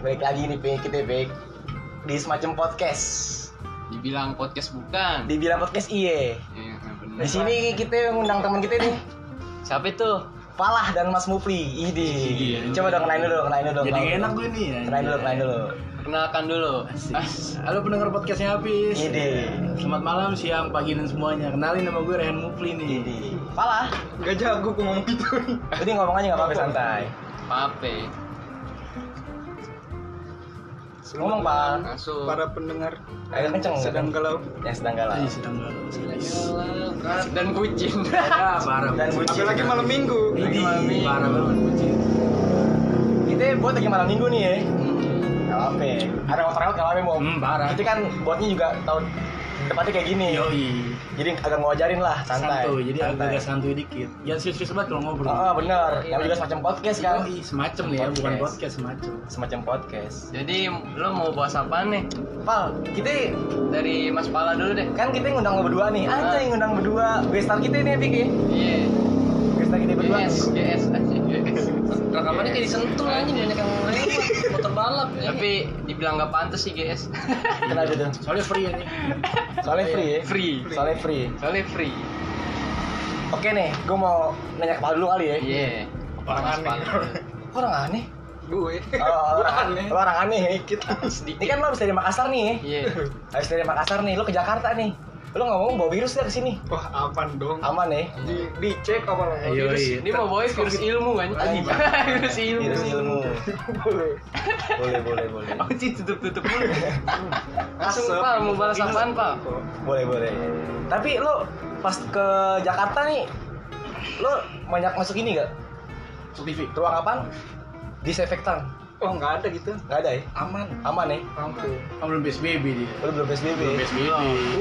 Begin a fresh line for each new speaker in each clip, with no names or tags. balik lagi nih Pik, kita Pik di semacam podcast.
Dibilang podcast bukan.
Dibilang podcast iye.
Iya, bener.
Di sini kita ngundang teman kita nih,
Siapa itu?
Palah dan Mas Mufli. Idi.
Iya.
Coba dong kenain dulu, kenain dulu.
Jadi
kenain
enak
dulu.
gue nih ya.
Kenain dulu, kenain dulu.
Perkenalkan dulu.
Asik.
As-
Halo pendengar podcastnya habis.
Ini.
Selamat malam, siang, pagi dan semuanya. Kenalin nama gue Rehan Mufli nih.
Idi. Palah.
Gak jago gue ngomong gitu.
Jadi ngomong aja nggak apa-apa santai.
Pape.
Ngomong Pal.
Masuk.
pendengar
Agak kenceng. kan?
sedang galau.
Yang sedang galau.
Iya sedang galau.
Dan kucing.
Ya parah.
Dan bucin.
lagi malam minggu.
Lagi malam minggu.
Parah banget bucin.
Iya. Kita buat lagi malam minggu nih ya. Gak apa-apa. Ada overload gak apa-apa mau.
Hmm parah.
Kita kan buatnya juga tahun depannya kayak gini.
Yoi.
Jadi agak ngajarin lah santai.
Santuy, jadi
Santai.
agak santuy dikit. Jangan serius-serius banget kalau ngobrol.
Oh, oh, bener. Namanya juga semacam podcast kan.
Yoi, semacam nih ya, bukan
Podcast.
podcast semacam.
Semacam podcast.
Jadi lo mau bahas apa nih?
Pal, kita
Dari Mas Pala dulu deh.
kan kita ngundang lo berdua nih.
Ah.
Anjay ngundang berdua. Gestar kita nih, Pik. ya.
Iya.
Gestar kita berdua.
GS, GS aja. GS.
Rekamannya kayak disentuh anjing banyak yang motor balap.
Tapi dibilang nggak pantas sih GS.
Kenapa tuh?
Soalnya free anjing. Oh,
Soalnya
iya.
free ya.
Free.
Soalnya free.
Soalnya free.
Oke nih, gue mau nanya ke Pal dulu kali ya.
Iya.
Orang
Mas
aneh.
Pala.
Kok orang aneh?
Gue.
Oh,
Gue
orang aneh.
aneh.
Lo orang aneh. Kita. Ini kan lo habis dari Makassar nih. ya.
Iya.
Habis dari Makassar nih, lo ke Jakarta nih. Lo ngomong bawa virus ya ke sini.
Wah, aman dong.
Aman ya.
Di dicek apa lah. Ayo,
Virus-
iya.
Dia mau bawa virus ilmu kan?
Anjing.
Virus ilmu.
Virus ilmu. Boleh, boleh, boleh.
Oh, Ci, tutup-tutup dulu. Langsung, Pak, mau balas apaan, Pak?
Boleh, boleh. Tapi lo pas ke Jakarta nih, lo banyak masuk ini gak?
TV.
Ruang apaan? Disinfektan.
Oh, nggak ada gitu.
Gak ada ya?
Aman.
Aman ya?
Aman. Oh, belum PSBB dia.
Lo belum PSBB. ya?
PSBB.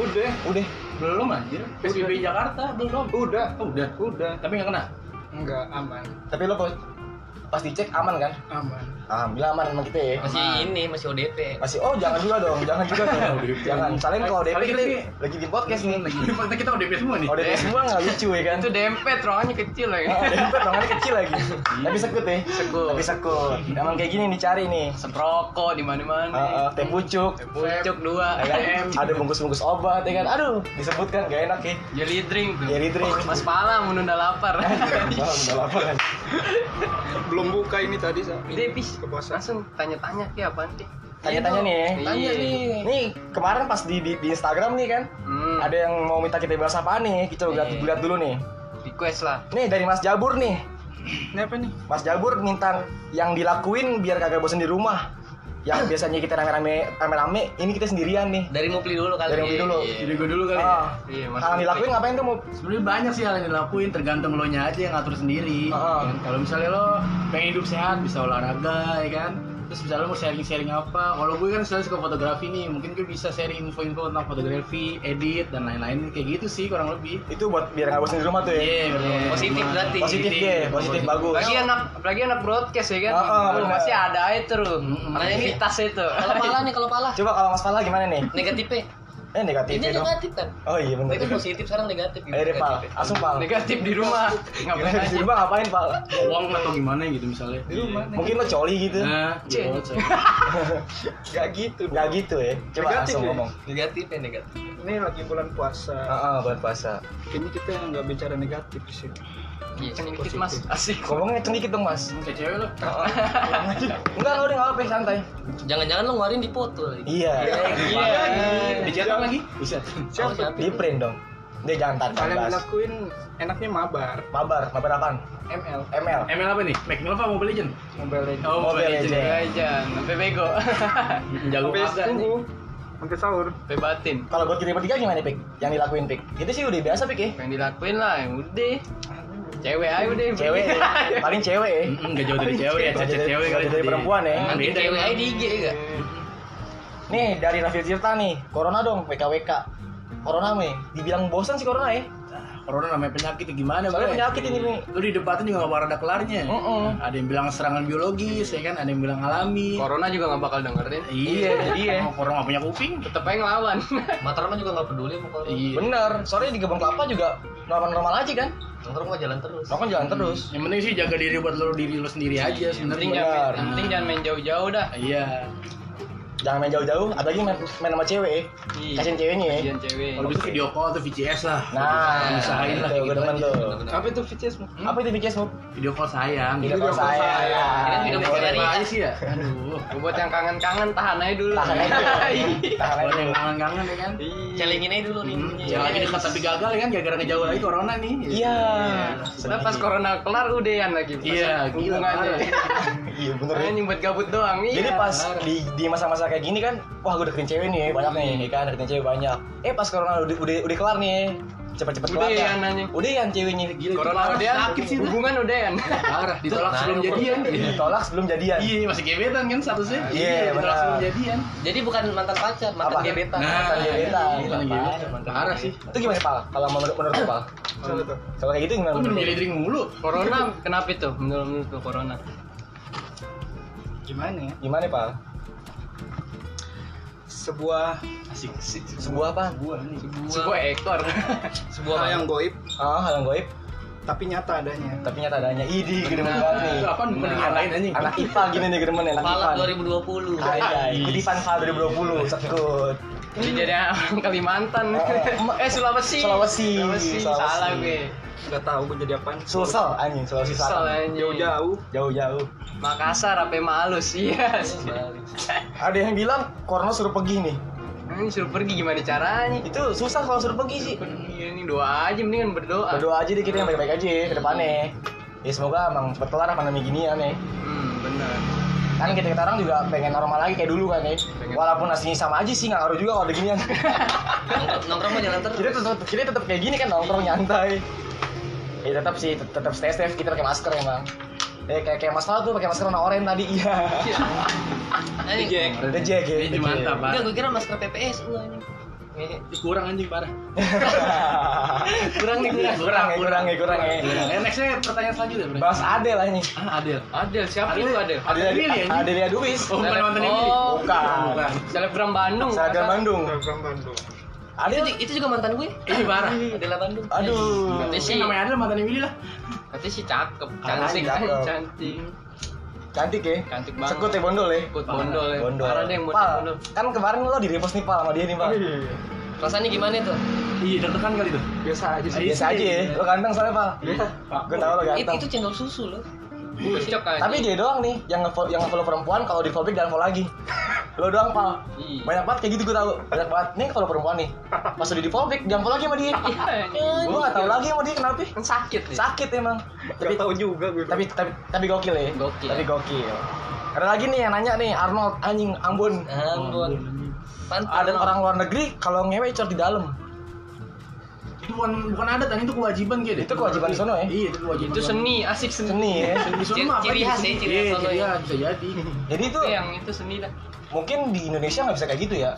Udah.
Udah.
Belum anjir. PSBB Jakarta belum. Udah. udah. Udah. Tapi nggak kena. Enggak, aman.
Tapi lo kok- pas dicek aman kan?
Aman.
Alhamdulillah aman sama kita ya.
Masih ini, masih ODP.
Masih, oh jangan juga dong, jangan juga dong. jangan, kalian kalau DP
Kali
kita
ini-
lagi bikin podcast nih.
Fakta kita ODP semua nih.
Oh DP semua nggak lucu ya kan?
Itu dempet, ruangannya kecil lah ya.
Ah, DP ruangannya kecil lagi. Tapi sekut ya.
Sekut.
Tapi sekut. Emang kayak gini dicari nih.
Sep rokok di
Ah, ah,
mana-mana.
teh pucuk.
Pucuk dua,
ya
Iya.
kan? Ada bungkus-bungkus obat ya kan? Aduh, disebutkan gak enak ya.
Jelly drink tuh. Oh,
Jelly drink.
Mas Pala menunda lapar.
Bang, udah lapar kan?
Belum buka ini tadi, Sa.
Udah bis.
Kepuasan.
Langsung tanya-tanya kayak apaan sih?
Tanya-tanya nih ya.
Tanya nih.
Nih, kemarin pas di, di, di Instagram nih kan,
Hmm,
ada yang mau minta kita bahas apaan nih? Kita lihat,
Nih.
lihat dulu nih.
request lah.
Nih dari Mas Jabur nih.
Ini apa nih?
Mas Jabur minta yang dilakuin biar kagak bosan di rumah. Yang biasanya kita rame-rame rame-rame, ini kita sendirian nih.
Dari Mupli dulu kali.
Dari Mupli
ya.
dulu.
Iya.
Jadi gue dulu kali. ya.
Ah,
Iya, Mas
hal yang
Mupli.
dilakuin ngapain tuh mau?
Sebenarnya banyak sih hal yang dilakuin, tergantung lo nya aja yang ngatur sendiri.
Ah.
Ya kan? Kalau misalnya lo pengen hidup sehat, bisa olahraga, ya kan. Terus misalnya lo mau sharing-sharing apa? Kalau gue kan misalnya suka fotografi nih, mungkin gue bisa sharing info-info tentang fotografi, edit dan lain-lain kayak gitu sih kurang lebih.
Itu buat biar nggak bosan di rumah tuh ya.
Iya, bener.
Positif berarti.
Positif deh, positif bagus.
Lagi anak, lagi anak broadcast ya kan?
Ah, ah,
Lu
benar.
masih ada aja tuh. Kreativitas itu.
Hmm, iya. Kalau pala nih, kalau pala.
Coba kalau Mas Fala gimana nih?
Negatifnya.
Eh negatif
Ini
ya dong.
negatif kan.
Oh iya bener.
Itu positif kan sekarang negatif.
Eh deh Pal,
Negatif.
langsung Pal.
Negatif di rumah. Ngapain
Negatif di
aja?
rumah ngapain Pal?
Uang atau gimana gitu misalnya. Di rumah.
Mungkin lo coli gitu.
Nah,
Cek.
iya, cek.
Gak gitu.
Gak gitu ya. Coba
Negatif
langsung
ya.
ngomong.
Negatifnya
eh,
negatif.
Ini lagi bulan puasa.
Heeh, buat puasa.
Kayaknya kita nggak bicara negatif di sini.
Iya, Positif mas. Asik.
Ngomongnya kenceng dikit dong Mas.
Kayak cewek lo.
Enggak, enggak udah nggak apa-apa, santai.
Jangan-jangan lo ngeluarin di foto lagi.
Iya.
Iya.
Dicetak lagi? Bisa.
Oh,
Siapa?
Di print dong. Dia jangan tanpa
Kalian
bahas.
dilakuin enaknya mabar.
Mabar, mabar apaan?
ML.
ML.
ML apa nih? Mac Nova Mobile Legend.
Mobile Legends.
Oh,
Mobile Legend.
iya,
Jajan, sampai bego.
Jago
Sampai
banget.
subuh. Sampai sahur.
Sampai batin.
Kalau buat kita bertiga gimana Pik? Yang dilakuin Pik? Itu sih udah biasa Pik ya?
Iya.
Yang dilakuin lah, yang udah. Cewek aja udah.
Cewek
Iya.
ya. Paling cewek ya.
Enggak jauh dari cewek ya,
Nggak
cacat
jauh dari-
cewek
nggak
kali.
jauh dari perempuan ya.
Kan
Bikin
beda
cewek
ya.
aja di IG ya gak?
Nih dari Rafil Tirta nih, Corona dong, WKWK. Corona me, dibilang bosan sih Corona ya.
Corona namanya penyakit ya gimana
Soalnya
Bro?
penyakit ini nih.
Lu di debatin juga gak bakal ada kelarnya.
Mm-mm.
Ada yang bilang serangan biologis ya kan, ada yang bilang alami.
Corona juga gak bakal dengerin.
Iya,
iya.
Emang Corona gak punya kuping.
Tetep aja ngelawan.
Matarman juga gak peduli mau kalau.
Iya.
Bener, soalnya di Gebang Kelapa juga normal-normal aja kan
nongkrong mah jalan terus
nongkrong jalan terus
Yang penting sih jaga diri buat lo diri lo sendiri aja
Yang penting
sebenarnya. Nah,
jangan,
Benar.
yang penting ya, jangan main jauh-jauh dah.
Iya.
jangan main jauh-jauh apalagi main, main sama cewek
Iya.
kasihin ceweknya ya
Kasihan cewek.
Kalau bisa video call atau VCS lah.
nah
usahain
itu
lah kayak
gue
gitu
demen
aja.
tuh
Apa itu VCS? Mo?
apa itu BTS Bob?
Video call sayang.
Video
Gitu.
call saya
Ini video call
Boleh
Cari.
apa aja sih ya? Aduh.
Buat yang kangen-kangen tahan aja dulu. Iya.
tahan aja tahan
Buat
aja
yang kangen-kangen ya kan.
Celingin aja dulu Iya. nih.
Hmm, Yang lagi dekat tapi gagal kan gara-gara kejauh lagi corona nih.
iya
Sudah pas corona kelar udahan lagi. Pas
Iya, gila,
hubungannya.
iya bener ya
Hanya nyumbut gabut doang.
Jadi
Iya.
pas di di masa-masa kayak gini kan, wah gue deketin cewek nih banyak nih, ya kan deketin cewek banyak. Eh pas corona udah udah, udah kelar nih, cepet-cepet kelar.
Udahan
kan?
anjing.
Udahan ceweknya. gitu,
Gila,
Corona
parah,
udahan.
sakit sih, itu.
Hubungan udahan.
Parah, ditolak
Nah,
sebelum
iya.
jadian.
Ditolak sebelum jadian.
Iya, masih gebetan kan statusnya.
Iya,
ditolak
benar.
sebelum jadian.
jadi bukan mantan pacar mantan
Apa? iya,
gebetan
mantan gebetan.
mantan gebetan.
Mantan
Parah sih.
gitu kan. Itu gimana Pal? Kalau menurut menurut lu, Pal?
Soalnya tuh.
Kalau kayak gitu gimana?
Lu minum jelly drink mulu.
Corona kenapa itu? Menurut menurut lu corona.
Gimana ya?
Gimana Pal?
Sebuah
Asik.
Sebuah apa?
sebuah nih.
Sebuah ekor.
Sebuah hal yang goib
Ah, hal yang goib,
tapi nyata adanya.
tapi nyata adanya. Idi, gede banget banget nih.
Itu Nah, apa mending yang lain anjing.
Anak IPA gini nih gede banget, anak IPA.
Malam 2020
Ayah, kutipan Pal 2020, sekut.
Jadi jadi orang Kalimantan.
Eh,
eh Sulawesi.
Sulawesi.
Sulawesi.
Sulawesi.
Salah gue.
Gak tau gue jadi apaan. Hmm.
Sulsel anjing, Sulawesi
Kesel
Selatan.
anjing.
Jauh-jauh.
Jauh-jauh.
Makassar apa Malus? Iya.
Ada yang bilang Corona suruh pergi nih.
Ini suruh pergi gimana caranya?
Itu susah kalau suruh pergi sih.
Iya ini doa aja mendingan berdoa.
Berdoa aja deh kita yang baik-baik aja ya, ke depannya. Ya semoga emang cepet kelar pandemi gini ya nih.
Hmm, benar.
Kan kita kita orang juga pengen normal lagi kayak dulu kan ya. Walaupun aslinya sama aja sih nggak ngaruh juga kalau ada ginian.
Nongkrong- nongkrong mah jalan
Iya.
terus
kita tetap kita tetap kayak gini kan nongkrong nyantai. Ya tetap sih tet- tetap stay safe kita pakai masker emang. Ya kayak kayak Mas Fal tuh pakai masker warna oranye tadi iya.
anjing
Jack.
Udah Jack ya.
Ini mantap, Pak.
enggak gue kira masker PPS lu anjing Ngehe.
Kurang anjing parah.
kurang
nih, kurang.
kurang ya kurang ya kurang ya.
Eh, nextnya pertanyaan selanjutnya, Bro.
Bahas Adel lah ini.
Ah, Adel.
Adel, siapa itu
Oh,
Adel?
Adel Lili anjing.
Adelia Duis.
Oh, bukan mantan ini.
Oh,
Bukan.
Selebgram Bandung.
Seragam Bandung.
Program Bandung.
itu,
Adel
ju- itu juga mantan gue
Ini parah.
Adela Bandung
Aduh.
Berarti
Ini
sih,
namanya Adel mantan Emily lah.
berarti sih cakep,
Anjing,
cantik,
cakep.
cantik.
Cantik ya.
Cantik banget.
Sekut ya bondol ya.
Ikut bondol ya.
Bondol.
Parah deh yang buat
Pal,
bondol. Iya.
kan kemarin lo di repost nih Pal sama dia nih
Iya,
Pal.
rasanya gimana tuh
Iya, deg-degan kali tuh.
Biasa aja Iya. sih.
Biasa aja
Iya.
ya. Lo ganteng soalnya Pal. Gue tau lo
It-
ganteng.
itu cendol susu loh
Cocok kan?
Tapi dia doang nih yang nge yang follow perempuan kalau di follow back jangan follow lagi. Lo doang Pal.
Iya.
Banyak banget kayak gitu gue tau. Banyak banget nih follow perempuan nih. Pas udah di follow back jangan follow lagi sama
Iya.
dia. Gue gak tau lagi sama dia kenapa.
kan sakit nih.
Sakit emang.
Gak
Tapi
tau juga gue.
tapi tapi tapi gokil ya.
Gokil.
Tapi gokil. Ada lagi nih yang nanya nih Arnold anjing
Eh.
Ambon.
Eh,
Ambon Pantan
Ada orang luar negeri kalau ngewe cor di dalam.
Itu bukan bukan adat, anjing itu kewajiban kayak deh.
Itu kewajiban sono ya?
Iya, itu kewajiban.
Itu seni, asik seni.
Seni ya.
Di sono mah apa
Ciri
sih?
khas ya, ciri khas
Iya,
sono
ciri
ya.
khas, bisa jadi. Iya,
Jadi itu
Itu Iya, yang itu seni dah.
mungkin di Indonesia nggak bisa kayak gitu ya.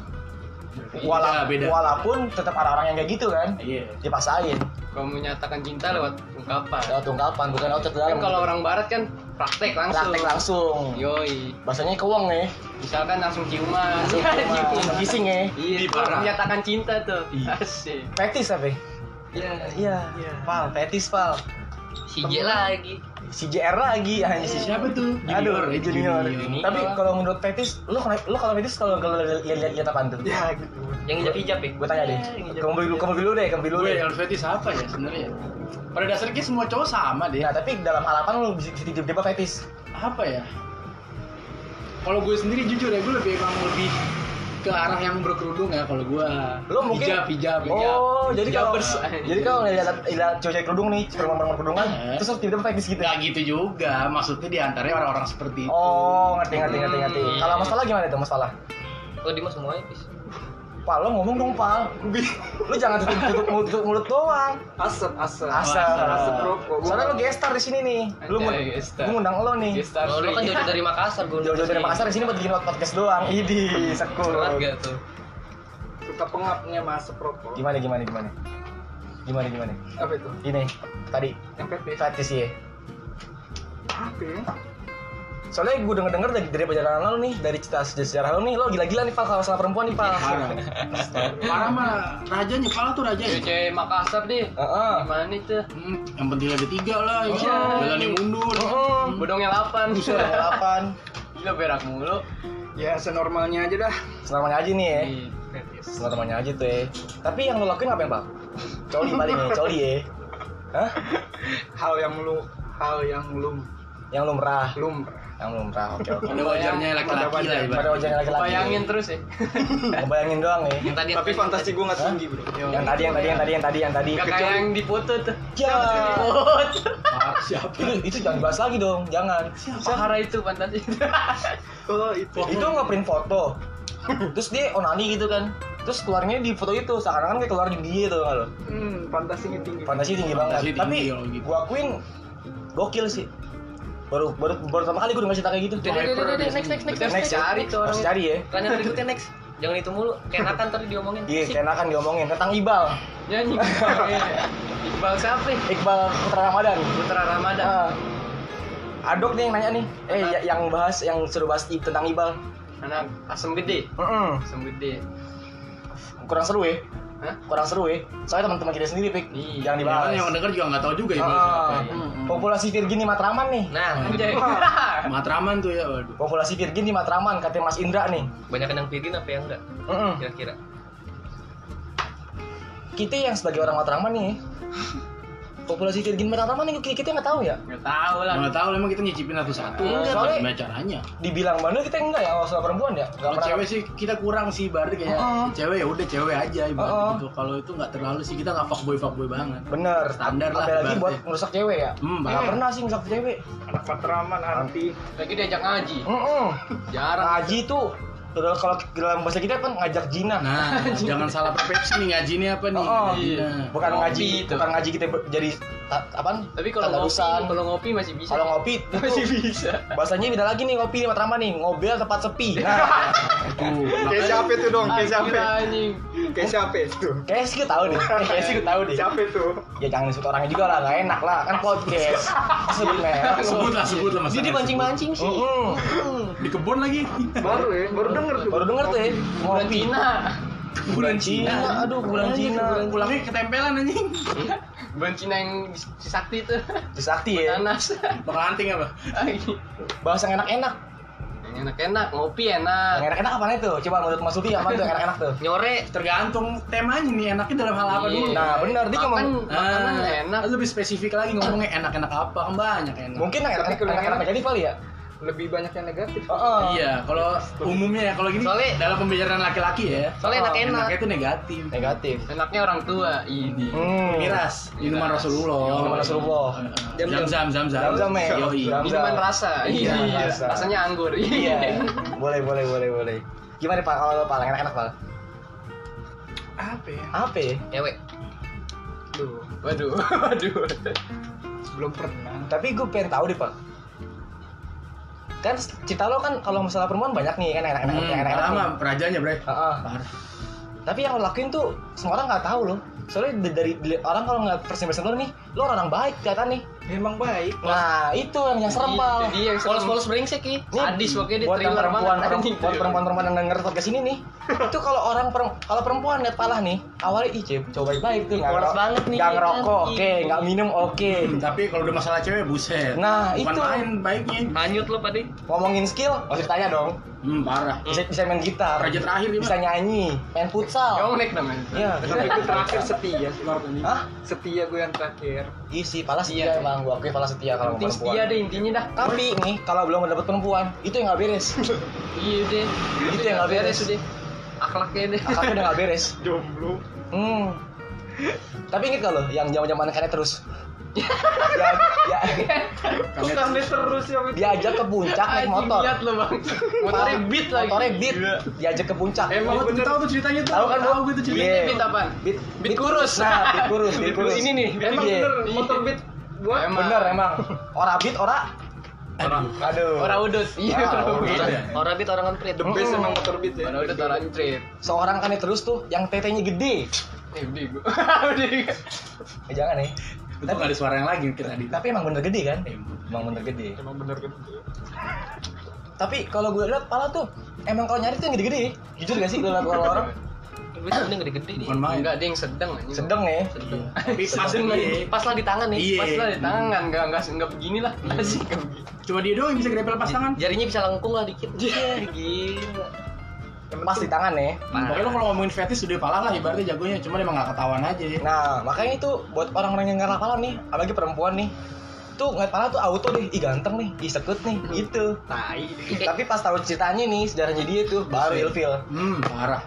Beda,
Wala-
Iya, beda.
Walaupun tetap orang-orang yang kayak gitu kan
Iya.
dipaksain
Kalau menyatakan cinta lewat ungkapan.
lewat tungkapan bukan lewat cor di dalam.
Kan kalau orang barat kan praktek langsung.
praktek langsung.
Yoi.
Bahasanya kewong ya.
Misalkan langsung ciuman.
Langsung cuma
Gitu.
langsung kissing ya.
Iya,
Di
itu
parah.
menyatakan cinta tuh.
Iya.
Asik.
Petis tapi.
Iya.
Iya. Pal, petis pal.
si J lagi
Si JR lagi anjing.
Si siapa tuh?
Aduh,
eh,
junior.
junior.
Tapi kalau menurut Petis, lu kena- lu kalau Petis kalau kalau lihat lihat lihat apaan tuh?
Iya.
Ya gitu.
yang hijab hijab ya
Gue tanya deh. Kamu beli dulu, kamu beli dulu deh, kamu beli dulu
Gue
deh.
Iya, yang fetish apa ya sebenarnya? Pada dasarnya kayak semua cowok sama deh.
Nah, tapi dalam halapan lu bisa bisa tiba-tiba Petis.
apa ya kalau gue sendiri jujur ya gue lebih emang lebih ke arah yang berkerudung ya kalau gue
Lu mungkin
hijab hijab hijab
Oh, jadi kalau
Hijabers.
jadi kalau ngeliat lihat cewek-cewek kerudung nih, perempuan-perempuan kerudungan,
Eh.
terus lu tiba-tiba Petis gitu.
nggak gitu juga maksudnya di antaranya orang-orang seperti itu
Oh, ngerti ngerti ngerti ngerti.
Hmm.
Kalau masalah gimana tuh masalah?
oh Dimas
ya,
semuanya pis
Pal, lo ngomong dong, Pal. Lu jangan tutup tutup mulut, tutup mulut doang.
Asap, asap.
Asal.
Asap rokok.
Soalnya lu gestar di sini nih. Lu ngund-
Anjay, gestar.
gua ngundang lo nih.
Gestar.
Oh, lu kan jauh dari Makassar gue
Iya, jauh-jauh dari Makassar di sini buat bikin podcast doang. Idi, sekul.
berat gak tuh
Suka pengapnya sama asap rokok.
Gimana gimana gimana? Gimana gimana?
Apa itu?
Ini tadi
Yang pepes.
fetis ya.
Apa ya?
Soalnya gue denger-denger dari, dari perjalanan lo nih, dari cerita sejarah lo nih, lo gila-gila nih Pak kalau masalah perempuan nih Pak.
Parah. Parah mah rajanya, pala tuh raja. ya.
Cewek-cewek Makassar deh.
Heeh.
Gimana itu?
Hmm, yang penting ada tiga lah,
Oh,
ya.
Iya.
Jalan yang mundur.
Oh,
Heeh.
Bodongnya 8.
Bisa delapan.
Gila berak mulu.
Ya senormalnya aja dah.
Selamanya aja nih ya.
Iya.
Sama temannya aja tuh ya. Tapi yang lo lakuin apa ya Pak? Coli paling ya, coli ya. Hah?
Hal yang lu hal yang lum
Yang lumrah.
lumrah.
Yang lumrah, oke oke.
Pada wajarnya
Iya.
laki-laki lah
Pada
ibaratnya.
wajahnya laki-laki.
Bayangin terus ya.
Ngebayangin doang ya.
Yang tadi
Tapi fantasi gue nggak tinggi bro. Ya.
Yang
Iya,
tadi, yang tadi, yang tadi, yang tadi, yang tadi.
Gak kayak yang di foto tuh.
Ya.
Ah, Siapa?
Itu, itu jangan bahas lagi dong, jangan.
Sahara itu fantasi.
Oh itu.
itu nge-print foto terus dia onani gitu kan terus keluarnya di foto itu seakan-akan kayak keluar di dia tuh nggak lo
Hmm, fantasinya tinggi.
fantasi tinggi
Fantasi
banget
tinggi
tapi
kalau gitu.
gua akuin gokil sih baru baru baru pertama kali gua denger cerita kayak gitu
Dede, dede, dede, next, next, next, next.
next ya
Cari tuh orang.
harus cari ya
Tanya berikutnya next. Jangan itu mulu. Kenakan tadi diomongin.
iya
Sip.
keenakan diomongin tentang Iqbal
Nyanyi. Iqbal siapa? ya?
Iqbal Putra Ramadan
Putra Ramadan.
Ah. Adok nih yang nanya nih, eh ya- yang bahas yang suruh bahas i- tentang Iqbal,
Anak asam gede.
Mm-mm.
Asam gede.
kurang seru ya,
Hah?
kurang seru ya. Soalnya teman-teman kita sendiri pik,
Iya,
jangan dibahas.
kan Yang denger juga nggak tahu juga ya. Bang.
Ah,
Siapa ya.
populasi Virgin di Matraman nih.
Nah, anjay.
Matraman tuh ya, waduh.
Populasi Virgin di Matraman katanya Mas Indra nih.
Banyak yang pirin apa yang enggak?
Mm-mm.
Kira-kira.
Kita yang sebagai orang Matraman nih. Populasi Virgin Matraman nih kita- kita nggak tahu ya.
Enggak tahu lah.
Nggak tahu emang kita nyicipin satu-satu.
Enggak,
Iya, Soalnya
Pak.
gimana caranya?
Dibilang bandel kita enggak ya kalau soal perempuan ya. Enggak
Kalau cewek sih kita kurang sih berarti kayak
Heeh.
cewek ya udah cewek aja ibaratnya
Heeh.
gitu. Kalau itu nggak terlalu sih kita nggak fuckboy fuckboy banget.
Bener.
Standar lah,
Apalagi
berarti.
buat merusak cewek ya.
Hmm,
Nggak
banget.
pernah sih merusak cewek.
Anak patraman anti.
Lagi diajak ngaji.
Mm-mm.
Jarang.
Ngaji tuh kalau kalau dalam bahasa kita kan ngajak jinah.
Nah, jangan salah persepsi nih ngaji ini apa nih?
Oh,
Ngaji,
iya.
nah.
bukan
Ngopi
ngaji,
itu.
bukan ngaji kita ber- jadi ta- apaan?
Tapi kalau ngopi,
Tadarusan.
kalau ngopi masih bisa.
kalau ngopi itu
masih bisa.
bahasanya beda lagi nih ngopi di Matraman nih, ngobel tempat sepi. Nah,
Tuh,
Kayak siapa itu dong? Kayak siapa?
Gila, anjing.
Kayak siapa itu?
Kayaknya sih gue tau deh, kayaknya Iya sih gue tau deh
Siapa itu?
Ya jangan disebut orangnya juga lah, gak enak lah, kan podcast Sebut merek
sebutlah sebutlah mas.
Jadi mancing-mancing sih.
Mm-mm.
di kebun lagi.
Baru ya, baru denger tuh.
Baru denger tuh ya,
Bulan
ngopi
Cina.
Bulan Cina, aduh bulan Cina
Pulangnya ketempelan anjing.
Bulan Cina yang di- si sakti itu.
Disakti ya,
Nanas.
Penganting apa?
yang
bahas yang enak-enak
enak-enak, ngopi
Yang
enak.
enak-enak apaan itu? Coba menurut Mas Suti apaan tuh yang enak-enak tuh?
Nyore.
Tergantung temanya nih enaknya dalam hal apa
Iya.
dulu.
Nah benar, dia
Makan,
ngomong
makanan
Ah,
enak.
Lebih spesifik lagi ngomongnya enak-enak apa kan banyak enak.
Mungkin yang enak-enak
Tapi kalau yang
enak-enak
enak-
jadi kali ya?
Lebih banyak yang negatif.
Heeh.
Iya, kalau umumnya ya kalau gini
Soalnya-
dalam pembicaraan laki-laki ya.
Soalnya enak-enak.
Enaknya itu negatif.
Negatif
Enaknya orang tua. Ini.
Hmm
Miras, minuman
Miras.
Rasulullah.
Minuman Rasulullah.
Jam jam jam jam jam.
Jam-jam ya.
Yoi.
Jam.
Minuman rasa.
Iya, rasa.
Rasanya anggur.
Iya, boleh boleh boleh boleh Gimana Pak kalau lo Pak, yang enak-enak Pak?
Apa ya?
Apa ya?
Cewek.
Duh,
Waduh, waduh.
belum pernah.
Tapi gue pengen tahu deh pak. Kan cita lo kan kalau masalah perempuan banyak nih kan enak-enak
Hmm,
yang enak-enak.
lama
nih.
perajanya, Bre.
Heeh.
Parah.
Tapi yang lo lakuin tuh semua orang nggak tahu loh. Soalnya d- dari dili- orang kalau nggak persen persen lo nih, lo orang baik kelihatan nih.
Emang baik.
Nah itu yang yang serem pak.
Iya, Jadi yang polos-polos brengsek
Nih,
ya. Sadis pokoknya dia kan.
buat yang
thriller
perempuan,
banget, anjing.
buat perempuan perempuan yang denger podcast ini nih itu kalau orang perem- kalau perempuan lihat pala nih awalnya ih cewek coba baik tuh nggak
Polos
ngerok-
banget nih,
nggak
kan?
ngerokok oke
Iya.
nggak minum oke
Hmm, Tapi kalau udah masalah cewek buset.
Nah,
Bukan
itu.
main baiknya.
Hanyut lo tadi.
ngomongin skill harus ditanya dong
Hmm, parah.
bisa bisa main gitar
Raja terakhir dia,
bisa nyanyi main futsal
Congnek namanya.
Iya.
Tapi gue terakhir setia sih Mark ini.
Hah?
Setia gue yang terakhir.
Ih sih, pala setia
Iya.
emang gua akui pala setia kalau
Penting
sama perempuan.
setia deh intinya dah.
Tapi nih kalau belum dapat perempuan, itu yang nggak beres.
Iya deh.
Itu yang nggak beres.
deh. Akhlaknya deh.
Akaknya udah nggak beres.
Jomblo.
Hmm. Tapi inget gak lo yang zaman zaman kalian terus? ya, ya,
Bukan dia terus ya. Mit.
diajak ke puncak naik
Anjing,
motor.
liat lo bang. Motornya beat lagi. Eh,
Motornya beat. Diajak ke puncak.
Emang
Emang
gue
bener.
tahu tuh ceritanya tuh.
Tahu kan lo?
Tahu gue tuh ceritanya.
Iya.
Beat apaan?
Beat,
Beat kurus.
Nah, beat kurus, beat kurus.
Ini nih, beat
Emang
Iya.
bener motor beat gua
Emang.
Bener emang. Ora beat, ora.
Orang
Aduh.
orang udut. Iya.
Ah,
orang
orang
udut.
udut.
Orang beat orang antrit.
the best emang motor beat ya.
Orang udut orang antrit.
Seorang kan terus tuh yang tetenya gede.
Eh, udah gue. Udah.
Eh, jangan nih.
Untung nggak ada suara yang lagi mungkin tadi.
Tapi emang bener gede kan? Emang bener gitu. gede.
Emang bener gede.
Tapi kalau gue lihat pala tuh emang kalau nyari tuh yang gede-gede. Jujur gak sih kalau lihat orang-orang
Gue sebenernya gede-gede nih.
Bukan main.
Enggak, dia yang sedang anjing.
sedang ya.
Sedang.
Tapi pas
Sedang lagi.
lagi.
Pas lah di tangan nih,
Iya.
pas lah di tangan, enggak enggak enggak begini lah. Masih enggak begini.
Cuma dia doang yang bisa grepel pas tangan.
Ya,
Jarinya bisa lengkung lah dikit. Iya, gila.
Pas di tangan ya.
Pokoknya lo kalau ngomongin fetish udah pala lah ibaratnya jagonya, cuma emang nggak ketahuan aja.
Nah, makanya itu buat orang-orang yang nggak pala nih, apalagi perempuan nih. Tuh ngeliat pala tuh auto deh, ih ganteng nih, ih sekut nih,
Hmm.
gitu.
Tai.
Tapi pas tahu ceritanya nih, sejarahnya dia tuh baru
Iya.
ilfil,
Hmm, parah.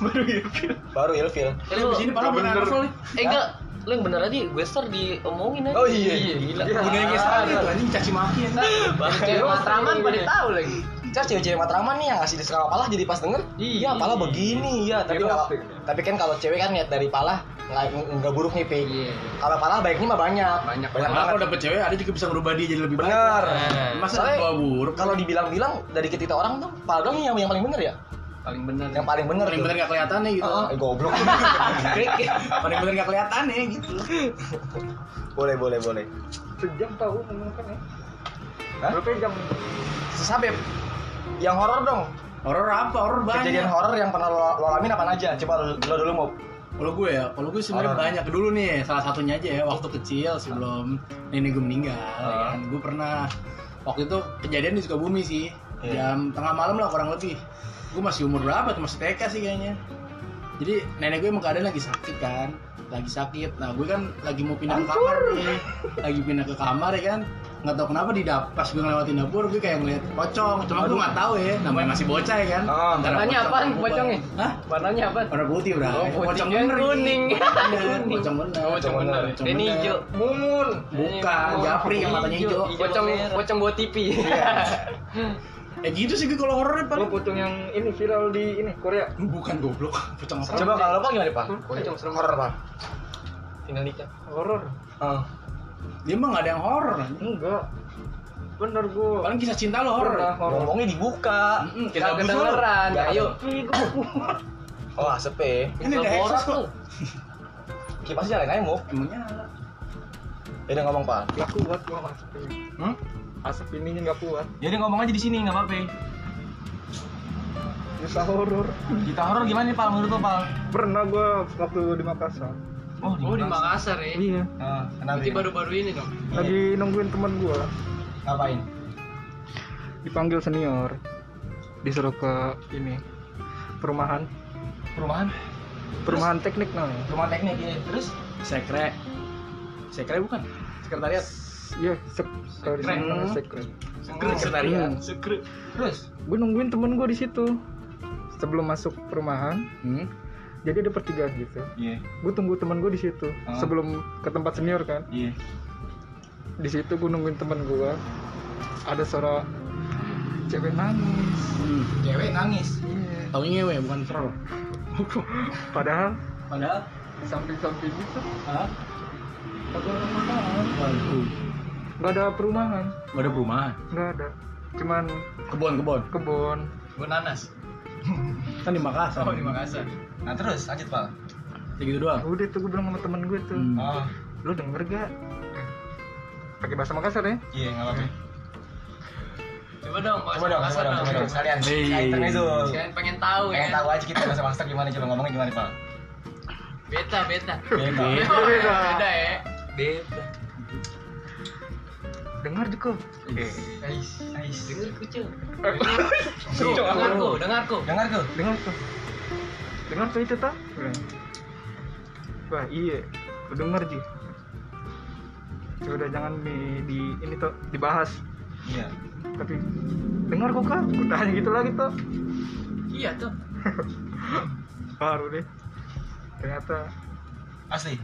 Baru ilfil.
baru ilfil.
Eh,
Tapi di sini parah bener
bener.
soalnya.
Eh enggak, lu yang bener aja gue ser diomongin aja.
Oh, iya.
gila.
Iya.
Gunanya
Ah,
kayak salah
iya.
itu gitu. anjing caci maki anjing.
Baru cewek matraman
Iya.
pada tahu lagi.
Terus cewek-cewek matraman nih yang ngasih diserang pala jadi pas denger, iya pala begini ya. Tapi
Iya,
kalau
pasti.
tapi kan kalau cewek kan lihat dari pala nggak nggak buruk nih Pi.
Iya.
Kalau pala baiknya mah banyak.
Banyak.
Malah
banget.
kalau dapet cewek ada juga bisa ngerubah dia jadi lebih baik.
Bener.
Masa
Soalnya
bawa buruk?
Kalau dibilang-bilang dari kita orang tuh pala doang yang yang paling bener ya.
Paling bener.
Yang paling bener.
paling
tuh.
bener nggak kelihatan nih gitu.
Eh, goblok.
Paling bener nggak kelihatan nih gitu.
boleh boleh boleh.
Sejam tahu menggunakan ya.
Hah?
Berapa jam?
Sesabeb. Yang horor dong.
Horor apa? Horor banyak.
Kejadian horor yang pernah lo, lo alamin apa aja? Coba lo, lo dulu mau.
Kalau gue ya, kalau gue sebenarnya
Horor.
banyak dulu nih. Salah satunya aja ya, waktu kecil sebelum nenek gue meninggal, ya
Ah.
kan. Gue pernah waktu itu kejadian di Sukabumi sih,
Iya.
jam tengah malam lah kurang lebih. Gue masih umur berapa tuh? Masih TK sih kayaknya. Jadi nenek gue emang keadaan lagi sakit kan, lagi sakit. Nah gue kan lagi mau pindah ke kamar nih, lagi pindah ke kamar ya kan. Nggak tahu kenapa di dap pas gue ngelewatin dapur gue kayak ngeliat pocong. Cuma gue nggak tahu ya, namanya masih bocah ya kan.
Ah,
Antara
warnanya
pocong
apaan
sama
pocongnya?
ubah. Hah?
Warnanya apa?
Warna putih bro.
Oh, pocong kuning. Kuning.
Pocong bener.
Oh,
Pocong
pocong
bener.
bener.
Pocong
Ini
bener.
hijau.
Mumun.
Bukan, japri yang matanya hijau.
Pocong pocong bawa TV.
Iya.
Eh gitu sih gue kalau horornya
Lo
paling.
pocong yang ini viral di ini Korea.
Bukan goblok. Pocong apa?
Coba kalau lo pak gimana pak?
Pocong serem.
Horor pak.
Tinggal nikah.
Horor.
Ah.
Dia mah nggak ada yang horor. anjing.
Enggak. Bener gua.
Paling kisah cinta lo horor.
Pernah horor.
Ngomongnya dibuka.
Mm-mm,
Kita
kita busur.
kedengeran.
Jangan.
Ayo.
Oh asep ya.
Ini ada
Borak
eksos kok.
lu.
Kipasnya nyalain aja mau.
Emang nyala.
Ya udah ngomong pak.
Gak kuat gua asap ini.
Hmm?
Asap ininya gak kuat.
Jadi Ya, ngomong aja di sini nggak apa-apa.
Bisa horor.
Kita horor gimana nih pak menurut lo pak?
Pernah gua waktu di Makassar.
Oh
Oh di Makassar ya.
Iya.
Ah, kenapa?
Berarti baru-baru ini dong.
Lagi nungguin teman gua.
ngapain?
Dipanggil senior. Disuruh ke ini perumahan
Perumahan?
perumahan teknik namanya
Rumah teknik ya. Terus?
Sekre. Sekre bukan. Sekretariat.
iya sek kalau di
Sekret.
sana namanya sekret
Sekre sekretariat.
Hmm.
Sekre.
Oh, Terus?
gue nungguin temen gue di situ sebelum masuk perumahan
Hmm.
jadi ada pertigaan gitu
Iya.
gue tunggu temen gue di situ
Ah.
sebelum ke tempat senior kan
Iya.
di situ gue nungguin temen gue ada suara cewek nangis
Hmm.
Cewek nangis.
Iya.
Tau ngewe bukan horor.
padahal
Padahal.
samping-samping gitu
Hah?
kagak ada perumahan.
Waduh.
nggak ada perumahan
Gak ada perumahan.
nggak ada cuman
Kebon-kebon.
kebun
Gue nanas.
Kan di
Iya.
Makassar.
Oh di Makassar.
Nah terus lanjut pak.
Ya gitu doang.
udah tuh gue bilang sama temen gue tuh
Hmm.
Oh
lu denger gak pakai bahasa Makassar ya
iya nggak apa-apa.
Coba dong.
Coba dong, coba
Makassar
dong, coba dong. Sekalian,
Hei.
sekalian intermezzo.
Kalian pengen tahu ya.
Pengen tahu aja kita bahasa master gimana coba ngomongnya gimana pak?
Beta beta.
Beta.
Beta.
Beta.
Beda ya. Beta.
dengar juga
Ais, ais.
Dengar kucing. Dengarku, dengarku.
Dengar tuh.
dengar tuh dengar tuh itu tuh wah iya lu denger ji Ya udah jangan di, di- ini tuh dibahas
Iya.
tapi dengar kok kak Gua tanya gitu lagi tuh
Iya tuh.
baru deh ternyata
Asli.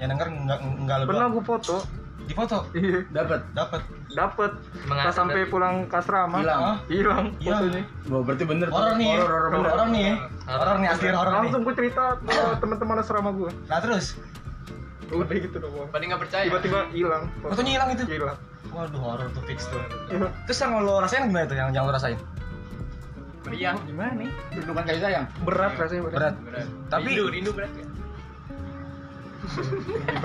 Yang denger nggak nggak
pernah
lebih.
gue foto
Di foto
iya
Dapat.
dapat.
dapet
Mengasih
pas sampai
berarti.
pulang ke asrama
Hilang.
Ah,
hilang
Hilang.
fotonya
Wah, berarti bener tuh.
Horor nih. ya.
Horor, horor,
Bener,
horor.
Horor nih. ya. Horor nih asli horor nih.
langsung gue cerita ke teman-teman asrama gue
Nah terus
udah gitu doang
Paling nggak percaya.
tiba-tiba hilang
fotonya hilang itu.
hilang
Waduh horor tuh fix tuh.
Hilang.
Terus yang lo rasain gimana tuh yang yang lo rasain?
Meriang.
gimana nih
kan Perlindungan kasih sayang.
berat rasanya berat,
Berat. Tapi
Rindu, rindu berat ya.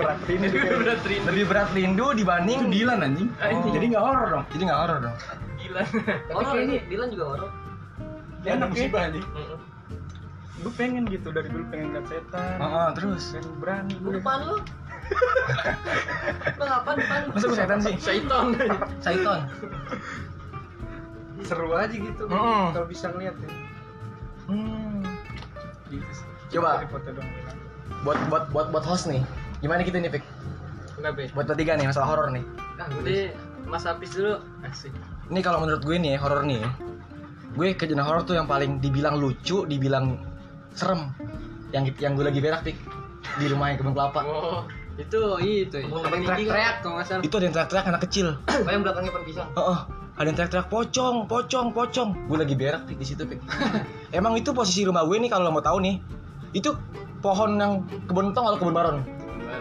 lebih berat rindu
Iya.
Lebih berat rindu.
Lebih berat rindu dibanding
Itu Dilan anjing.
Anjing.
Jadi nggak horor dong.
Jadi nggak horor dong.
Gila.
Tapi
Horor
kayaknya Dilan juga horor.
Dia anak musibah anjing.
gue pengen gitu dari dulu pengen lihat setan
Oh, oh, terus.
pengen berani
Lu depan lu. Lu ngapain depan?
Masa gue setan sih?
Syaiton.
Saiton.
seru aja gitu
Mm-mm.
kalau bisa ngeliat ya
Hmm.
gitu sih.
Coba.
Dari foto dong
Buat buat buat buat host nih. Gimana kita nih, Pik?
Kenapa ya?
Buat bertiga nih masalah horor nih.
Ah, udah Mas Apis dulu. Asik.
Ini kalau menurut gue nih horor nih. Gue kejadian horor tuh yang paling dibilang lucu, dibilang serem. Yang yang gue lagi berak, Pik. Di rumah yang kebun kelapa.
Oh, itu itu. ya.
Gua
Yang
nggak
teriak-teriak kalau nggak salah.
Itu ada yang teriak-teriak anak kecil.
Oh, yang belakangnya pohon pisang.
Oh, oh. ada yang teriak-teriak pocong, pocong, pocong. Gue lagi berak Pik, di situ Pik. Emang itu posisi rumah gue nih kalau lo mau tahu nih. Itu pohon yang kebun tong kalau kebun baron.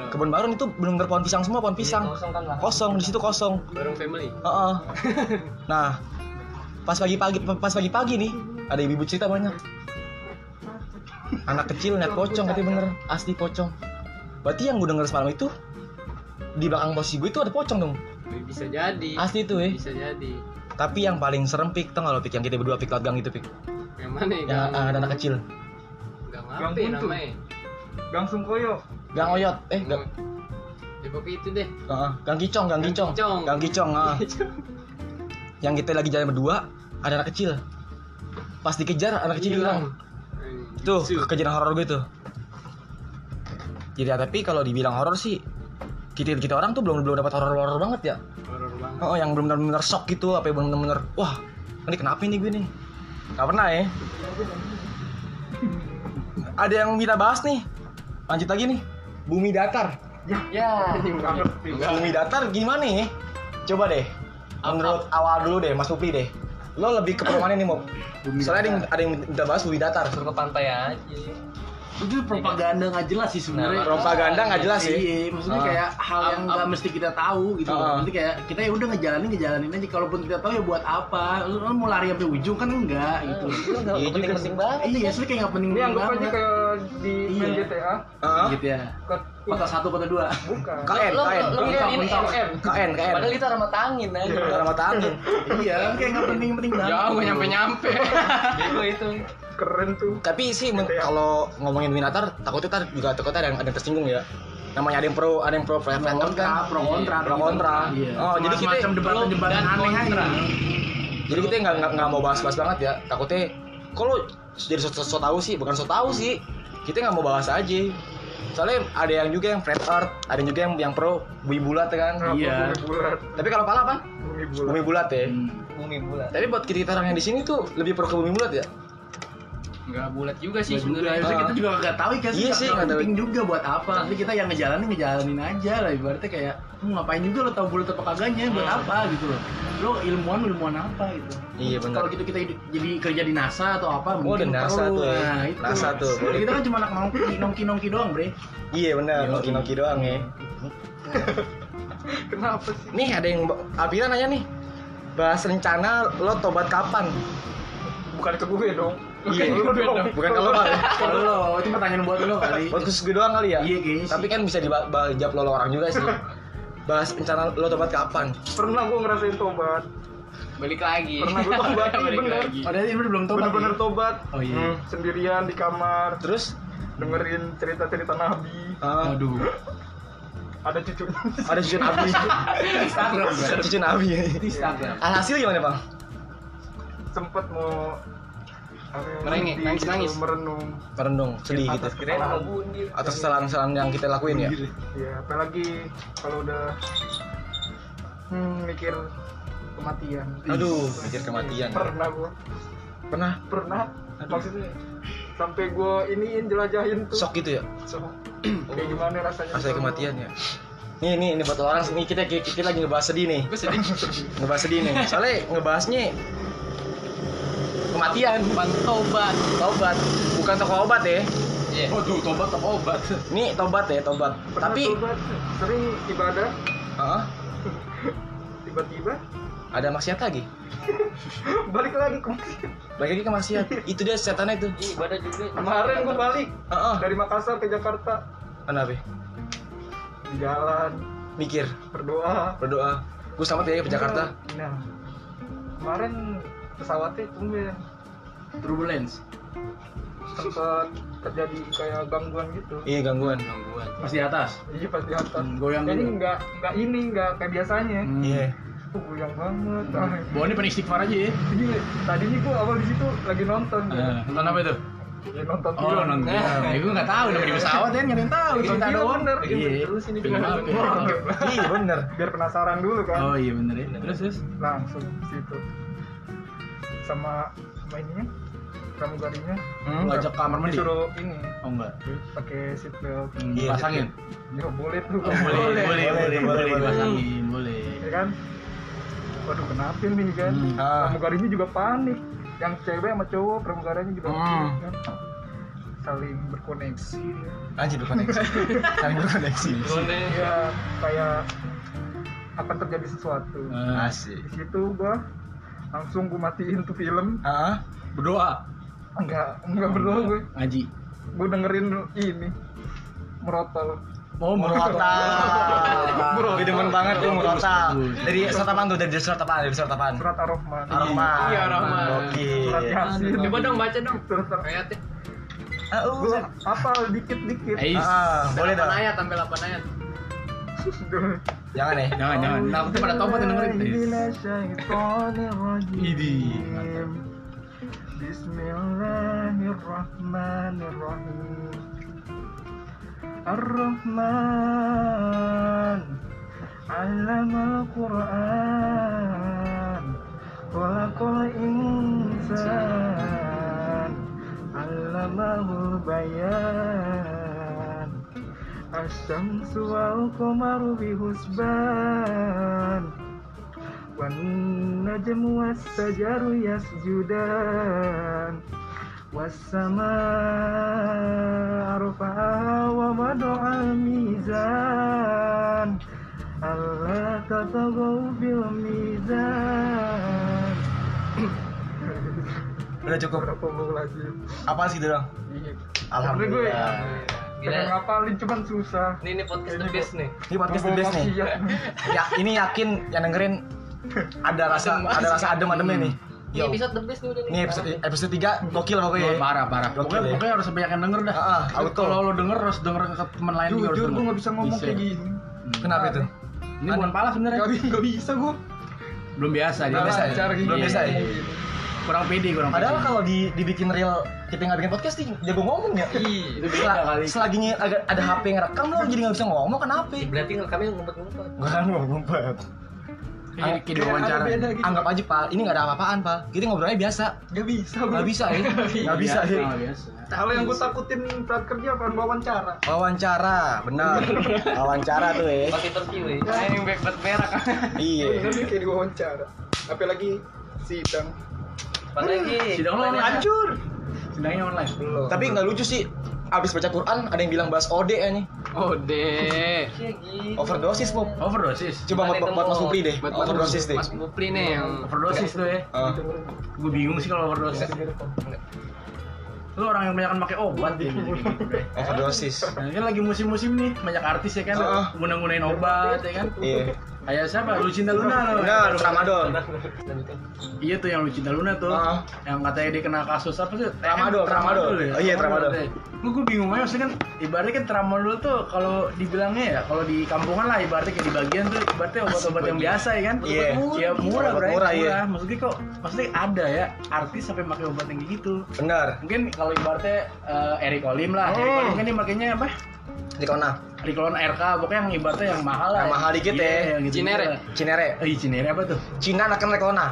Kebun baron itu benar-benar pohon pisang semua, pohon pisang.
Kosong kan lah.
Kosong di situ kosong.
Bareng family.
Oh, oh. Nah, pas pagi-pagi pas pagi-pagi nih ada ibu cerita banyak. Anak kecil lihat pocong katanya bener asli pocong. Berarti yang gue denger semalam itu di belakang posisi gue itu ada pocong dong.
Bisa jadi.
Asli itu eh.
Bisa jadi.
Tapi yang paling serem pik tau gak lo pik yang kita berdua pik laut gang itu pik
Yang mana ya?
yang ah, ada anak kecil
Gang
Gang
apa ya
buntu.
namanya?
Gang Sungkoyo
gang oyot eh gang
Ya pokoknya itu deh.
ah, ah, gang kicong gang
Gang
kicong
Kicong.
gang kicong ah. yang kita lagi jalan berdua ada anak kecil pas dikejar anak kecil hilang tuh kejadian horor gue tuh jadi ah, tapi kalau dibilang horor sih kita kita orang tuh belum belum dapat horor horor banget ya
Eh, Horor banget.
oh yang belum benar-benar shock gitu apa yang benar-benar wah ini kenapa ini gue nih nggak pernah ya ada yang kita bahas nih lanjut lagi nih bumi datar
Ya.
nggak ngerti
bumi datar gimana nih coba deh menurut awal dulu deh mas Upri deh lo lebih ke perumahan nih mau soalnya ada yang, ada yang minta bahas bumi datar
Suruh ke pantai aja.
Itu propaganda nggak jelas sih sebenarnya.
Nah,
propaganda nggak jelas sih
Iya, maksudnya
Ah.
kayak hal yang
Up, up.
nggak mesti kita tahu gitu.
Ah.
Nanti kayak kita ya udah ngejalanin ngejalanin aja. Kalaupun kita tahu ya buat apa? Lu, lu mau lari sampai ujung kan enggak gitu.
Itu nggak
Iya juga
penting-penting banget.
iya, soalnya kayak nggak penting
ini anggap aja
banget.
kayak di main
Iya.
GTA
Heeh.
Gitu ya.
ke
Kota satu, kota dua.
bukan
KN
Lo- lo-
KN
lo
Mentang,
kirain
mentang.
MM.
KN KN
Padahal itu ramah tangin aja.
Dalam mata angin
iya, kan kayak nggak penting penting
Ya,
banget.
Jauh nggak nyampe nyampe.
Itu itu.
keren tuh
tapi sih men- kalau ngomongin bumi datar takutnya tar juga takutnya ada yang, ada yang tersinggung ya namanya ada yang pro ada yang pro flat
Pro
flat earth
kontra,
kan
pro kontra,
Pro kontra.
Iya.
Oh, jadi kita-
macam debatan-debatan
dan
aneh aja.
kontra.
jadi kita nggak nggak- nggak mau bahas-bahas banget ya takutnya kalau jadi so, so, so tahu sih bukan so tahu sih kita nggak mau bahas aja soalnya ada yang juga yang flat earth ada juga yang yang pro bumi bulat ya kan
Kenapa
Iya.
bumi bulat
tapi kalau pala apa
bumi
bumi
Hmm. bulat
bulat ya
Hmm.
Bumi bulat.
tapi buat kita orang yang di sini tuh lebih pro ke bumi bulat ya
Enggak bulat juga sih
Nggak juga, iya.
sebenarnya.
Maksudnya kita juga nggak tahu kan
Iya sih, nggak
nggak
tahu.
penting juga buat apa. Tapi kita yang ngejalanin ngejalanin aja lah. Ibaratnya kayak "Hmm, ngapain juga lo tahu bulat apa kagaknya buat apa gitu loh. Lo ilmuwan ilmuwan apa gitu.
Hmm. Iya, benar.
Kalau gitu kita hidup- jadi kerja di NASA atau apa
Oh,
mungkin
ada NASA
perlu.
tuh ya.
Nah, itu.
NASA tuh,
Jadi kita kan cuma anak nongki nongki nongki doang bre.
iya benar
Iya,
noki noki doang ya
kenapa sih
nih ada yang Apira nanya nih bahas rencana lo tobat kapan
bukan ke gue dong
Iya, bukan
Bukan ke gue dong.
bukan kalau bang
Kalau lo itu pertanyaan buat lo kali.
buat khusus gue doang kali ya
Iya, kayaknya sih.
tapi kan bisa diba- ba- jawab lo, lo orang juga sih bahas rencana lo tobat kapan
pernah gue ngerasain tobat
Balik lagi.
Pernah gua tobat, iya,
Balik
bener.
lagi.
Padahal ini belum tobat.
bener-bener
ya?
tobat
Oh iya.
Hmm, sendirian di kamar
terus
dengerin cerita-cerita nabi
uh,
Aduh.
ada cucunya
ada cucu nabi
Instagram bre.
cucu nabi
Instagram.
alhasil gimana bang
sempet mau apa ya,
Merengek,
mandi,
nangis-nangis.
merenung
Perendung sedih
Iya,
gitu
atas kirain
Sama
anak
bundir.
atas kesalahan-kesalahan yang kita lakuin ya
ya apalagi kalau udah hmm, mikir kematian
aduh mikir kematian ya?
pernah gua
pernah
pernah
Aduh.
maksudnya sampai gua iniin jelajahin tuh
shock gitu ya
Sok. kayak gimana rasanya
rasanya kematian ya nih nih ini buat orang nih kita kita lagi ngebahas sedih nih
Gue sedih.
ngebahas sedih nih soalnya ngebahasnya kematian
Pan tobat.
tobat bukan toko obat ya
Iya.
Waduh, tobat atau obat?
ini tobat ya tobat
Pernah
tapi
tobat, sering ibadah
Heeh,
tiba-tiba
ada maksiat lagi
balik lagi kematian
balik lagi ke maksiat itu dia setannya itu
Ih, ibadah juga.
kemarin gua balik
Heeh.
dari Makassar ke Jakarta
kenapa ya?
di jalan
mikir
berdoa
berdoa gue selamat ya ke Jakarta
nah kemarin pesawatnya tumben
Turbulence
sempat terjadi kayak gangguan gitu
iya gangguan
gangguan
pas di atas.
jadi pas di atas
Hmm, goyang
jadi
gitu.
nggak nggak ini nggak kayak biasanya
Hmm.
iya
Aku goyang banget ah.
Bawa ini pen istighfar aja ya.
jadi tadinya gua awal di situ lagi nonton ya
Eh, Nonton apa itu?
Ya, nonton
Oh,
film
nonton. Nah, gue nggak tahu namanya di pesawat kan nggak ada yang tahu.
Nonton
Cerita
film,
doang.
bener. Ya,
Iya.
terus ini
Film
gua-
apa?
iya bener
biar penasaran dulu kan
Oh iya bener ya. Terus terus.
langsung ke situ sama mainnya pramugarinya
Hmm,
Enggak,
ajak kamar mandi?
disuruh ini
Oh enggak.
pakai seat belt
Hmm,
Iya.
Pasangin.
ya boleh tuh
Oh, boleh, boleh, boleh, boleh,
boleh,
dipasangin, boleh.
ya kan waduh kenapa nih kan
Hmm.
Ah.
pramugarinya juga panik yang cewek sama cowok pramugarinya juga
Hmm.
panik kan saling berkoneksi
anjir berkoneksi saling berkoneksi
ya kayak akan terjadi sesuatu
Eh,
asik
di situ gua langsung gua matiin tuh film
ah
berdoa.
enggak enggak berdoa gue
Ngaji.
gue dengerin ini merotol
Oh,
Oh, Mau
Murota gue demen banget tuh Murota
Bagus.
dari surat apaan tuh dari surat apaan dari surat apaan
surat ar-rahman
Arman
Iya, Rahman.
surat
Gokil
yasin
Coba dong baca dong. ya.
surat ar-
Ayatnya.
gue hafal dikit dikit
uh.
Eh,
Ah, boleh
Delapan
dong
ayat sampai 8 ayat.
jangan ya
Jangan, jangan.
Oh.
Takutnya pada tobat yang dengerin. Iya. Idi.
Bismillahirrahmanirrahim Bismillahirrahmanirrahim Ar-Rahman Allamal Quran Khalaqal insan Allamahul bayan Asyamsu wal qamaru bi husban Wan najmu was sajaru yasjudan Was samaa rafa'a wa wada'a mizan Allah tatagaw bil mizan
udah cukup
Berapa mau lagi?
apa sih itu dong
Iya.
alhamdulillah
Gila.
Gila.
ngapalin cuman susah.
Ini nih podcast the best nih.
ini podcast the best nih
Iya.
ya ini yakin yang dengerin ada rasa
Adem,
ada rasa adem ademnya nih
Ini episode the best nih udah nih.
Ini episode episode 3 gokil pokoknya. ya.
Oh, iya. Parah, parah.
Gokil
Pokoknya,
ya.
pokoknya harus banyak yang denger dah.
Ah, ah, auto.
Kalau lo denger harus denger ke
Kan
teman lain juga harus
Jujur
denger.
gue gak bisa ngomong kayak gini.
Hmm.
Kenapa itu?
Ini bukan pala sebenarnya.
Gak, bi- gak bisa gue.
Belum biasa
Belum biasa ya?
lancar gini.
Belum biasa ya?
Kurang pede, kurang pede.
Padahal kalau di, dibikin real kita nggak bikin podcast nih jago ngomong ya.
Iya, itu beda
Sel-
kali.
Selaginya agak ada HP yang rekam lo jadi nggak bisa ngomong kenapa?
Berarti kami ngumpet-ngumpet.
Gua kan mau ngumpet.
Kayak kayak di wawancara.
Ada beda gitu.
Anggap aja pak, ini nggak ada apa-apaan pak. Kita ngobrolnya biasa.
Gak bisa
Nggak bisa ya? Nggak bisa
Iya,
ya?
Nggak biasa.
Kalau yang gue takutin saat kerja apaan wawancara.
Wawancara, benar. Wawancara tuh ya.
Pas interview ya.
Ini backpack merah kan.
Iya.
Bener kayak di wawancara. Apalagi sidang.
Pas lagi.
Sidang lo online. Hancur. Eh, Sidangnya online.
Tapi nggak lucu sih. Abis baca Quran ada yang bilang bahas OD ya nih.
Oh deh.
Iya, gini.
Overdosis pop.
Overdosis.
Coba buat, buat Mas Pupri deh.
Buat Mas-
Overdosis deh.
Mas Mupri nih yang
Overdosis tuh ya.
Ah.
Gue bingung sih kalau overdosis. Lu orang yang banyak pakai obat ya. gitu, kayak gitu, Bre.
Overdosis.
Nah, kan lagi musim-musim nih, banyak artis ya kan,
Heeh.
guna-gunain obat ya kan.
Iya.
Kayak siapa? Lucinta Luna. loh.
Benar, Ramadan.
Iya tuh yang Lucinta Luna tuh.
Heeh.
Yang katanya dia kena kasus apa sih? TM,
Ah. Tramadol, tramadol.
ya?
Oh iya, tramadol.
katanya. Gua gua bingung aja maksudnya kan ibaratnya kan tramadol tuh kalau dibilangnya ya kalau di kampungan lah ibaratnya kayak di bagian tuh ibaratnya obat-obat yang biasa ya kan.
Iya.
Ya
Obat
murah, bro.
murah,
Murah,
iya.
Maksudnya kok maksudnya ada ya artis sampai pakai obat yang kayak gitu.
Benar.
Mungkin kalau ibaratnya eh, Eric Olim lah, Eric
Hmm.
Olim kan dia makainya apa?
Di kona.
Riklon RK pokoknya yang ibaratnya yang mahal lah.
Yang mahal dikit
Iya,
ya.
yang gitu-gitu
Cinere.
lah.
Cinere.
Eh, Cinere apa tuh?
Cina akan rekona.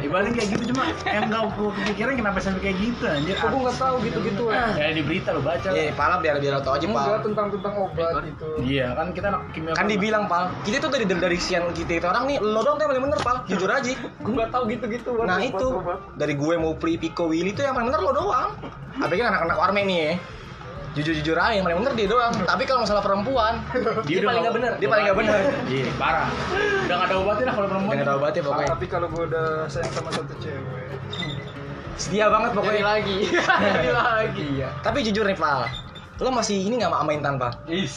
Ibaratnya kayak gitu cuma yang enggak gua kepikiran kenapa sampai kayak gitu anjir. Ah.
Aku nggak tahu gitu-gitu ya.
Kayak di berita lo baca.
Iya,
lah.
pala biar biar tau aja,
Enggak
Pal.
tentang tentang obat gitu.
Iya, kan kita anak kimia.
Kan dibilang, Pal, kita tuh dari dari, dari sian kita itu orang nih, lo dong tuh yang paling bener, Pal. Jujur aja.
Gue nggak tahu gitu-gitu. buat
Nah,
obat-
itu
obat.
dari gue mau Pri Piko Willy tuh yang paling bener lo doang. Apalagi kan anak-anak warme nih ya. Jujur-jujur aja yang paling bener dia doang. Tapi kalau masalah perempuan,
dia, paling enggak bener.
dia paling nggak bener.
Iya, parah. Udah enggak ada obatnya lah kalau perempuan.
Dengan obatnya
Ah,
ya, pokoknya.
tapi kalau gue udah sayang sama satu cewek,
Setia banget
Jadi
pokoknya.
lagi. Jadi lagi ya.
Iya.
Tapi jujur nih, Pal. Lo masih ini nggak sama Intan, Pal?
Is.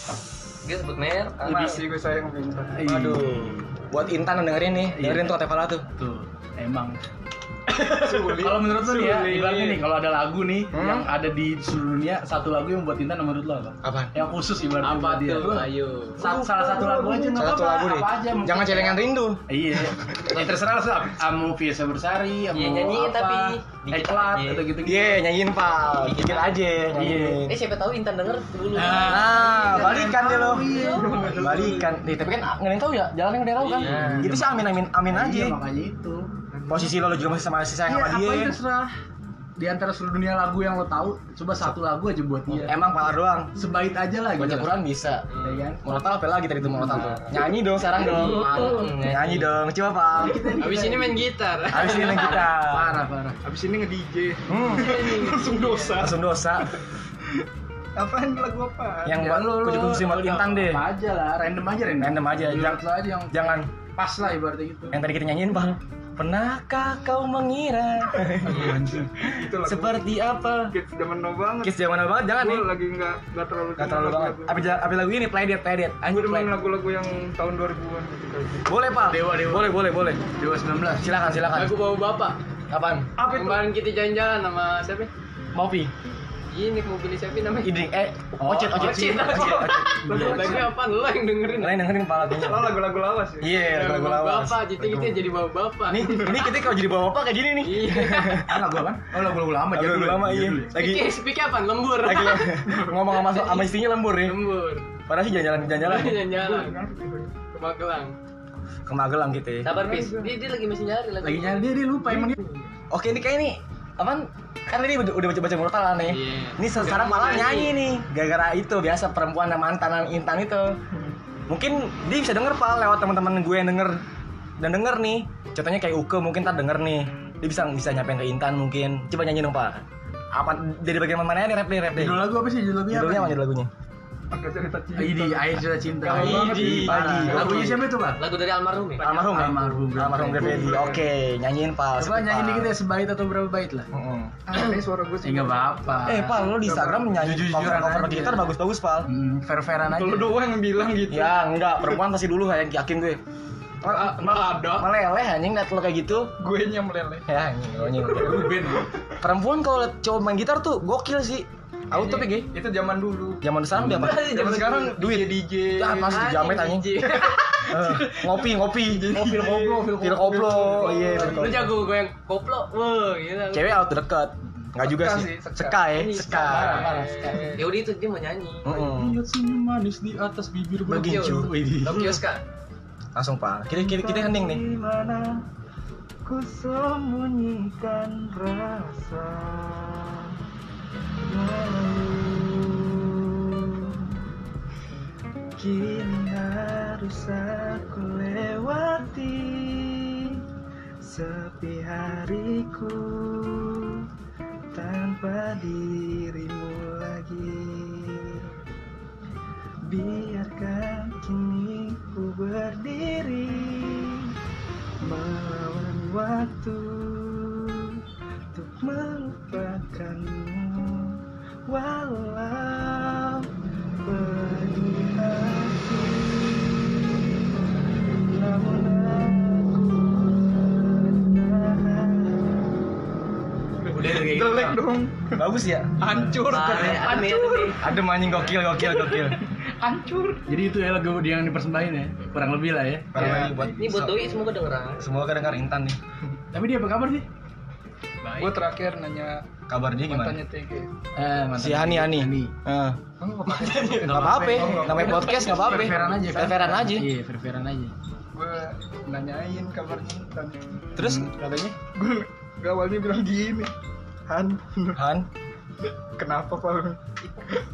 dia sebut merek
Lebih sih gue ah, sayang minta.
Aduh. Buat Intan yang dengerin
Iya.
nih, dengerin tuh kata Fala tuh.
Tuh, emang. Kalau menurut lo nih ya,
Sulit.
ibaratnya nih kalau ada lagu nih
Hmm?
yang ada di seluruh dunia, satu lagu yang buat Intan menurut lo apa?
Apaan?
Yang khusus ibaratnya
Apa
buat dia.
tuh? Ayo.
Sa- salah satu lagu aja nggak
Salah satu
apa-apa,
lagu deh.
apa aja. mungkin.
Jangan celengan rindu.
Iya. Ya terserah lah, kamu Fiesa Bersari, kamu
Iya, nyanyiin
apa,
tapi dikit
Eklat,
aja.
atau gitu-gitu.
Iya, nyanyiin Fal. Dikit aja. nyanyiin.
eh siapa tahu Intan denger
Iya,
dulu
Nah, balikan deh lo. Balikan. Nih, tapi kan nggak ada yang tahu ya, jalannya udah tahu kan.
Iya.
Itu sih amin amin amin aja.
Iya, makanya itu.
Posisi lo lo juga masih sama si sayang Nah,
Iya,
sama
apa itu
dia.
terserah. Di antara seluruh dunia lagu yang lo tahu, coba satu lagu aja buat dia.
Emang Fala doang.
Sebaik aja lah gitu.
Baca Quran bisa.
Ya kan?
Morotal apa lagi tadi itu morotal
Iya.
tuh? Nyanyi dong sekarang dong. Ah,
Hmm,
Nyanyi dong, coba Fal.
Abis ini main gitar.
Habis ini kita.
Parah, parah.
Abis ini nge DJ.
Hmm,
Langsung dosa.
langsung dosa.
Apaan lagu apa?
Yang buat
lo-
kucing kucing buat
lo-
Intan deh.
Apa aja lah, random aja random.
Random aja,
Menurut
jangan-
lo aja yang
Jangan
pas lah ibaratnya gitu.
yang tadi kita nyanyiin Fal. Pernahkah kau mengira
Itu lagu.
seperti apa?
Kids zaman now banget.
Kiss zaman now banget jangan
Gue
nih.
lagi nggak nggak terlalu.
Gak terlalu banget. Apa apa lagu ini play date play date.
Gue
Anjir play.
demen lagu-lagu yang tahun 2000-an gitu.
Boleh, Pak.
Dewa, Dewa.
Boleh, boleh, boleh.
Dewa 19.
Silakan, silakan.
Lagu bawa bapak.
Apaan?
Apa itu?
Kemarin kita jalan-jalan sama siapa?
Mopi.
Ini mobilnya siapa namanya?
Idrik eh Iya, Ocit,
Ocit.
Ocit.
Lagu apa lo yang dengerin?
Lain dengerin kepala kayaknya.
Oh, lagu-lagu lawas ya?
Iya, lagu
Bawa
lawas.
Bapak, jadi kita jadi bawa bapak.
Ini ini kita kalau jadi bawa bapak kayak gini nih. kan.
Iya.
Ah, lagu apa? Oh, lagu-lagu lama
Lagu
jadul ya,
lama iya.
jadul ya.
Lagi
Speak- Speak apa? Lembur.
lagi ngomong sama sama istrinya lembur ya.
Lembur.
Padahal sih jalan-jalan jalan-jalan
Iya.
Jalan-jalan ke Magelang.
ke Magelang gitu ya.
sabar bis dia, dia lagi masih nyari lagi
Lagi nyari dia, dia lupa emang dia.
Oke, ini kayak ini apaan? Kan ini udah udah baca-baca murtalan nih.
Iya.
Ini sekarang malah nyanyi nih Gara-gara itu biasa perempuan dan mantan dan Intan itu Mungkin dia bisa denger pal lewat teman-teman gue yang denger Dan denger nih Contohnya kayak Uke mungkin ntar denger nih Dia bisa bisa nyampein ke Intan mungkin Coba nyanyi dong pal Apa dari bagian mana nih rap nih rap nih
Judul lagu apa sih? Judul lagunya apa?
Judulnya apa judul lagunya?
Pakai cerita cinta.
Idi, Air Sudah Cinta.
Gampang banget
Idi,
ini.
Pagi.
Parah. Lagunya siapa itu, Pak?
lagu dari almarhum ya
Almarhum ya?
Almarhum.
Almarhum Grand Freddy. Oke nyanyiin pal
Coba
Seperti
nyanyi
Pal.
dikit ya, sebaik atau berapa bait lah.
Mm-mm.
Ah, ini suara gue
Ya
sih.
nggak apa-apa.
Eh pal lo di Instagram nyanyi
Jujur-jujuran
cover-cover
aja.
gitar bagus-bagus pal
Hmm, fair-fairan aja.
Kalau doang yang bilang gitu.
Ya enggak perempuan pasti dulu kayak yakin gue
Ah, Nggak ada.
Meleleh anjing liat lo kayak gitu
Gue yang meleleh.
Ya anjing lo anjing.
Lu band lu.
perempuan kalau liat cowok main gitar tuh gokil sih aku tuh PG
Itu zaman dulu.
zaman sekarang dia apa
Zaman sekarang
Iya,
duit DJ.
ya
Iya,
masih jamet anjing Eh, ngopi ngopi
Iya,
ngopi koplo pil koplo iya pil koplo.
Lu jago goyang koplo. Wah, gila.
cewek out deket nggak juga
Seka
sih
sih, seka.
seka ya seka
ya udah itu dia mau nyanyi
Mm-mm.
Lihat senyum manis di atas bibir
Begitu.
Idi.
Tokyo Ska.
langsung pak kita kita, kita hening nih
Gimana ku sembunyikan rasa lalu Kini harus aku lewati Sepi hariku Tanpa dirimu lagi Biarkan kini ku berdiri melawan waktu untuk melupakanmu walau pedih hati namun
Udah kayak gitu.
jelek dong
bagus ya
hancur
Parah, adem ya, adem ya.
adem anjing gokil gokil gokil
hancur
Jadi itu ya lagu dia yang dipersembahin ya. Kurang lebih lah ya.
Parah lagi
Ya.
buat
ini buat doi semoga dengeran
semua kedengar intan nih
Tapi dia apa kabar sih?
gue terakhir nanya
kabar dia gimana
mantannya TG
Eh,
si Hani Hani Eh, nggak apa-apa namanya podcast nggak apa-apa
Fair-fairan aja.
Fair-fairan aja
Iya, fair-fairan aja.
gue nanyain kabarnya Intan
terus
katanya gue gue awalnya bilang gini Han
Han
kenapa pak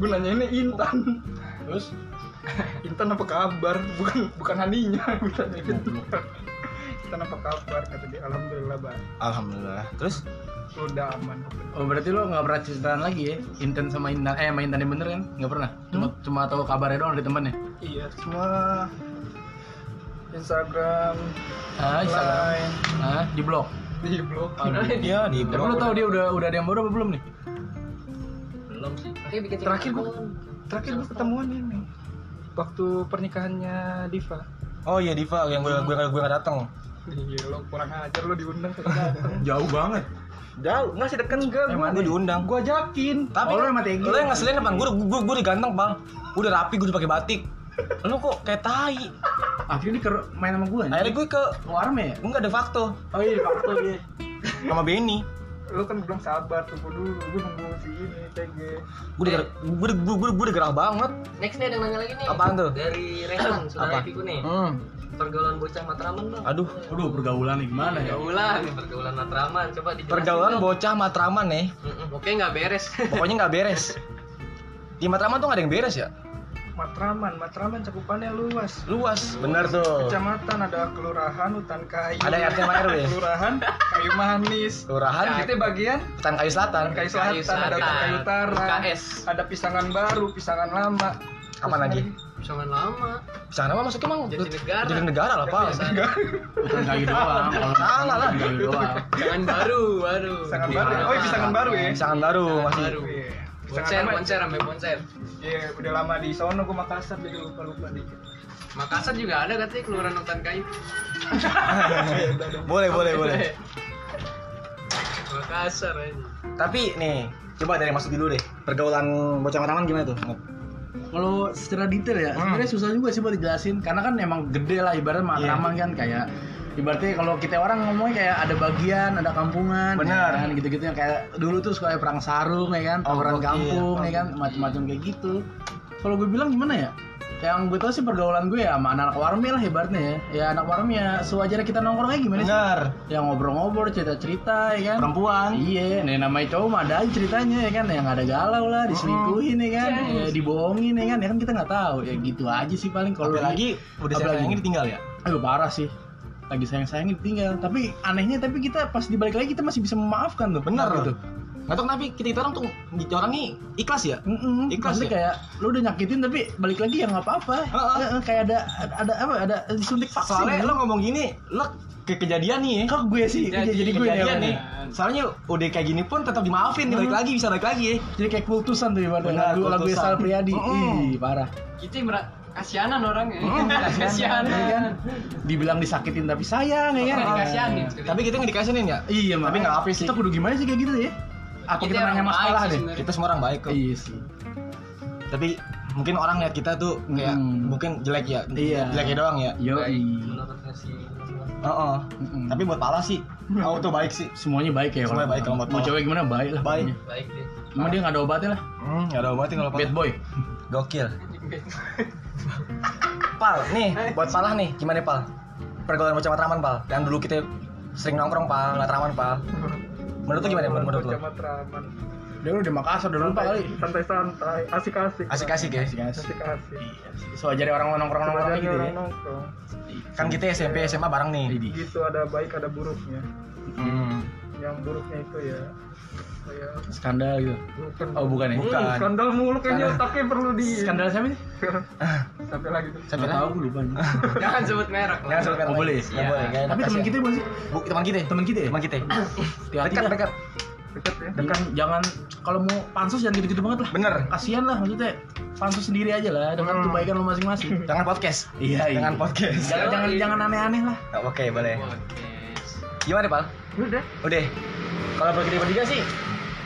gue nanyainnya Intan terus Intan apa kabar bukan bukan Haninya gue tanya gitu Intan apa kabar kata dia alhamdulillah baik
Alhamdulillah. Terus?
udah aman
Oh berarti lo nggak pernah ceritaan lagi ya? Intan sama Intan, eh sama Intan yang bener kan? Nggak pernah? Cuma cuma tahu kabarnya doang dari temannya?
iya semua Instagram
Ah, Instagram.
Line
Ah, di blog.
di blog
Iya di
Tapi lo tau dia udah udah ada yang baru apa belum nih?
belum sih kayak bikin
Terakhir
single.
gua- terakhir gue ketemuan ini waktu pernikahannya Diva
Oh iya Diva yang gue gue gue gak datang.
iya lo kurang ajar lo diundang kagak datang
Jauh banget.
jauh nggak sih deket enggak
Emang gue diundang.
gue ajakin
Tapi
Oh, lu emang tegi.
Lu yang ngeselin depan gue, gue gue diganteng bang. Udah rapi gue udah pakai batik. Lu kok kayak tai.
Akhirnya dia main sama gue
Akhirnya gue ke
Luar ya?
enggak de facto
Oh iya, waktu dia
sama Benny.
lo kan belum sabar tunggu dulu gue nunggu si ini TG
Gue udah gue udah- gue gue- gue udah gerah banget.
Next nih ada yang nanya lagi nih.
Apaan tuh?
Dari Rehan,
Apa?
saudara Epiku nih.
Hmm.
Pergaulan bocah Matraman bang.
Aduh.
Aduh, pergaulan nih gimana ya?
Pergaulan, pergaulan Matraman. Coba dijelasin.
Pergaulan
dong.
bocah Matraman eh. nih.
Mm-mm, Oke nggak beres.
Pokoknya nggak beres. Di Matraman tuh nggak ada yang beres ya?
Matraman Matraman cakupannya luas
Luas. Bener tuh.
kecamatan ada kelurahan hutan kayu
Oh. Ada ya, RT sama RW.
kelurahan kayu manis
Kelurahan
kita bagian
Hutan Ya. Kayu Selatan.
Hutan kayu
Kayu
selatan ada
Selatan,
kayu utara
UKS.
ada pisangan baru pisangan lama
Kapan lagi?
Sangat lama.
Sana mah maksudnya emang
Jadi negara.
Jadi negara lah, Pak.
Biasa.
Bukan kayu doang. Kalau
Salah lah.
bukan Kayu doang.
Jangan baru, baru.
pisangan baru oh iya, pisangan baru ya
Sangat baru masih.
Baru.
Iya. pisangan
Boncer,
lama
boncer, ambil boncer.
iya udah lama di sono gua Makassar jadi lupa lupa dikit
Makassar juga ada katanya keluaran hutan kayu.
Iya, Boleh, boleh, boleh.
Makassar aja.
Tapi nih, coba dari masuk dulu deh. Pergaulan bocah matangan gimana tuh?
Kalau secara detail ya, sebenarnya susah juga sih buat dijelasin karena kan emang gede lah ibaratnya Matraman kan kayak ibaratnya kalau kita orang ngomongnya kayak ada bagian, ada kampungan, ya
Benar.
kan, gitu-gitu yang kayak dulu tuh suka perang sarung ya kan, tawuran
gokil.
kampung ya kan, macam-macam kayak gitu. Kalau gue bilang gimana ya? Yang gue tau sih pergaulan gue ya sama anak warmi lah ibaratnya ya. Ya anak warmi ya sewajarnya kita nongkrong aja gimana sih?
Benar.
Yang ngobrol-ngobrol, cerita-cerita ya kan.
Perempuan.
Iya, nih namanya cowok mah ada aja ceritanya ya kan, yang ada galau lah, diselingkuhin ya kan, ya, dibohongin ya kan, ya kan kita nggak tahu, ya gitu aja sih paling kalau
Kalau lagi udah
apalagi?
saya sayangin ditinggal ya.
aduh parah sih, lagi sayang sayang ditinggal, tapi anehnya tapi kita pas dibalik lagi kita masih bisa memaafkan tuh, Gitu.
Benar
Kenapa
loh.
tuh.
Nggak tahu kenapa kita, kita orang tuh kita orang nih ikhlas ya.
Mm-mm,
Ikhlas
maksudnya
ya?
kayak lu udah nyakitin tapi balik lagi ya nggak apa-apa.
Heeh.
Eh, eh, Kayak ada ada apa ada suntik vaksin.
Soalnya lo ngomong gini, lo ke kejadian nih ya.
kok gue sih jadi, jadi gue
kejadian
nih.
nih. Soalnya udah kayak gini pun tetap dimaafin, balik lagi bisa balik lagi ya.
Jadi kayak kultusan tuh
Benar,
ibaratnya lagu lagu
kultusan.
Sal Priadi.
Mm-mm.
Ih, parah.
Kita merah kasianan orangnya.
Oh,
Ya kan?
kasianan.
Dibilang disakitin tapi sayang ya kan.
Kita dikasianin.
Tapi kita nggak dikasihin ya.
Iya, tapi
nggak apa-apa sih.
Kita kudu gimana sih kayak gitu ya? Apa
Kita
kita nanya
orang baik
masalah
sih
deh?
sebenarnya.
Kita semua orang baik kok.
Iya sih.
Tapi mungkin orang lihat kita tuh kayak
Hmm.
mungkin jelek ya.
Iya.
Jeleknya doang ya.
Yo, iya.
Baik, menurutnya sih.
Heeh.
Mm-mm. Iya.
Tapi buat pala sih, auto baik sih.
semuanya baik ya.
Semuanya
orang.
baik kalau buat
Mau
orang.
cewek gimana baik lah.
Baik.
pokoknya.
Baik deh.
Cuma dia nggak ada obatnya lah.
Hmm, gak ada obatnya kalau pala.
Bad boy.
Gokil. Pal, nih
Eh.
buat salah nih, gimana Pal? Pergaulan bocah matraman Pal, yang dulu kita sering nongkrong Pal, matraman Pal. Menurut lu gimana menurut, menurut lu?
Matraman
Dia udah di Makassar udah lupa kali.
santai santai asik asik
Asik-asik ya.
Asik asik.
asik asik
Soalnya Iya. orang nongkrong nongkrong
Sebenarnya
gitu ya.
orang nongkrong
Kan kita SMP SMA bareng nih.
Ini.
gitu ada baik ada buruknya
Hmm.
yang buruknya itu ya kayak
Skandal gitu.
bukan
Oh bukan ya?
Bukan.
Hmm, skandal mulu kayaknya
Skandal.
otaknya perlu di
Skandal siapa sih?
sampai lagi tuh
Sampai
Nggak tahu gue lupa. nih.
Jangan sebut merek.
Jangan sebut merek.
Oh, boleh?
Nggak boleh. nggak enak,
Tapi teman
kasihan.
kita bukan sih?
Bu, teman kita.
Teman kita ya?
Teman kita.
Hati-hati
ya. Dekat
dah.
dekat.
deket ya
Kan jangan kalau mau pansus jangan gitu-gitu banget lah.
Bener.
kasihan lah maksudnya pansus sendiri aja lah dengan kebaikan lo masing-masing
Jangan podcast.
iya iya
Jangan podcast.
jangan jangan
Yoi.
jangan aneh-aneh lah
Oh, Oke, boleh.
Podcast.
Gimana Pal?
udah
Udah. Kalau pergi bertiga sih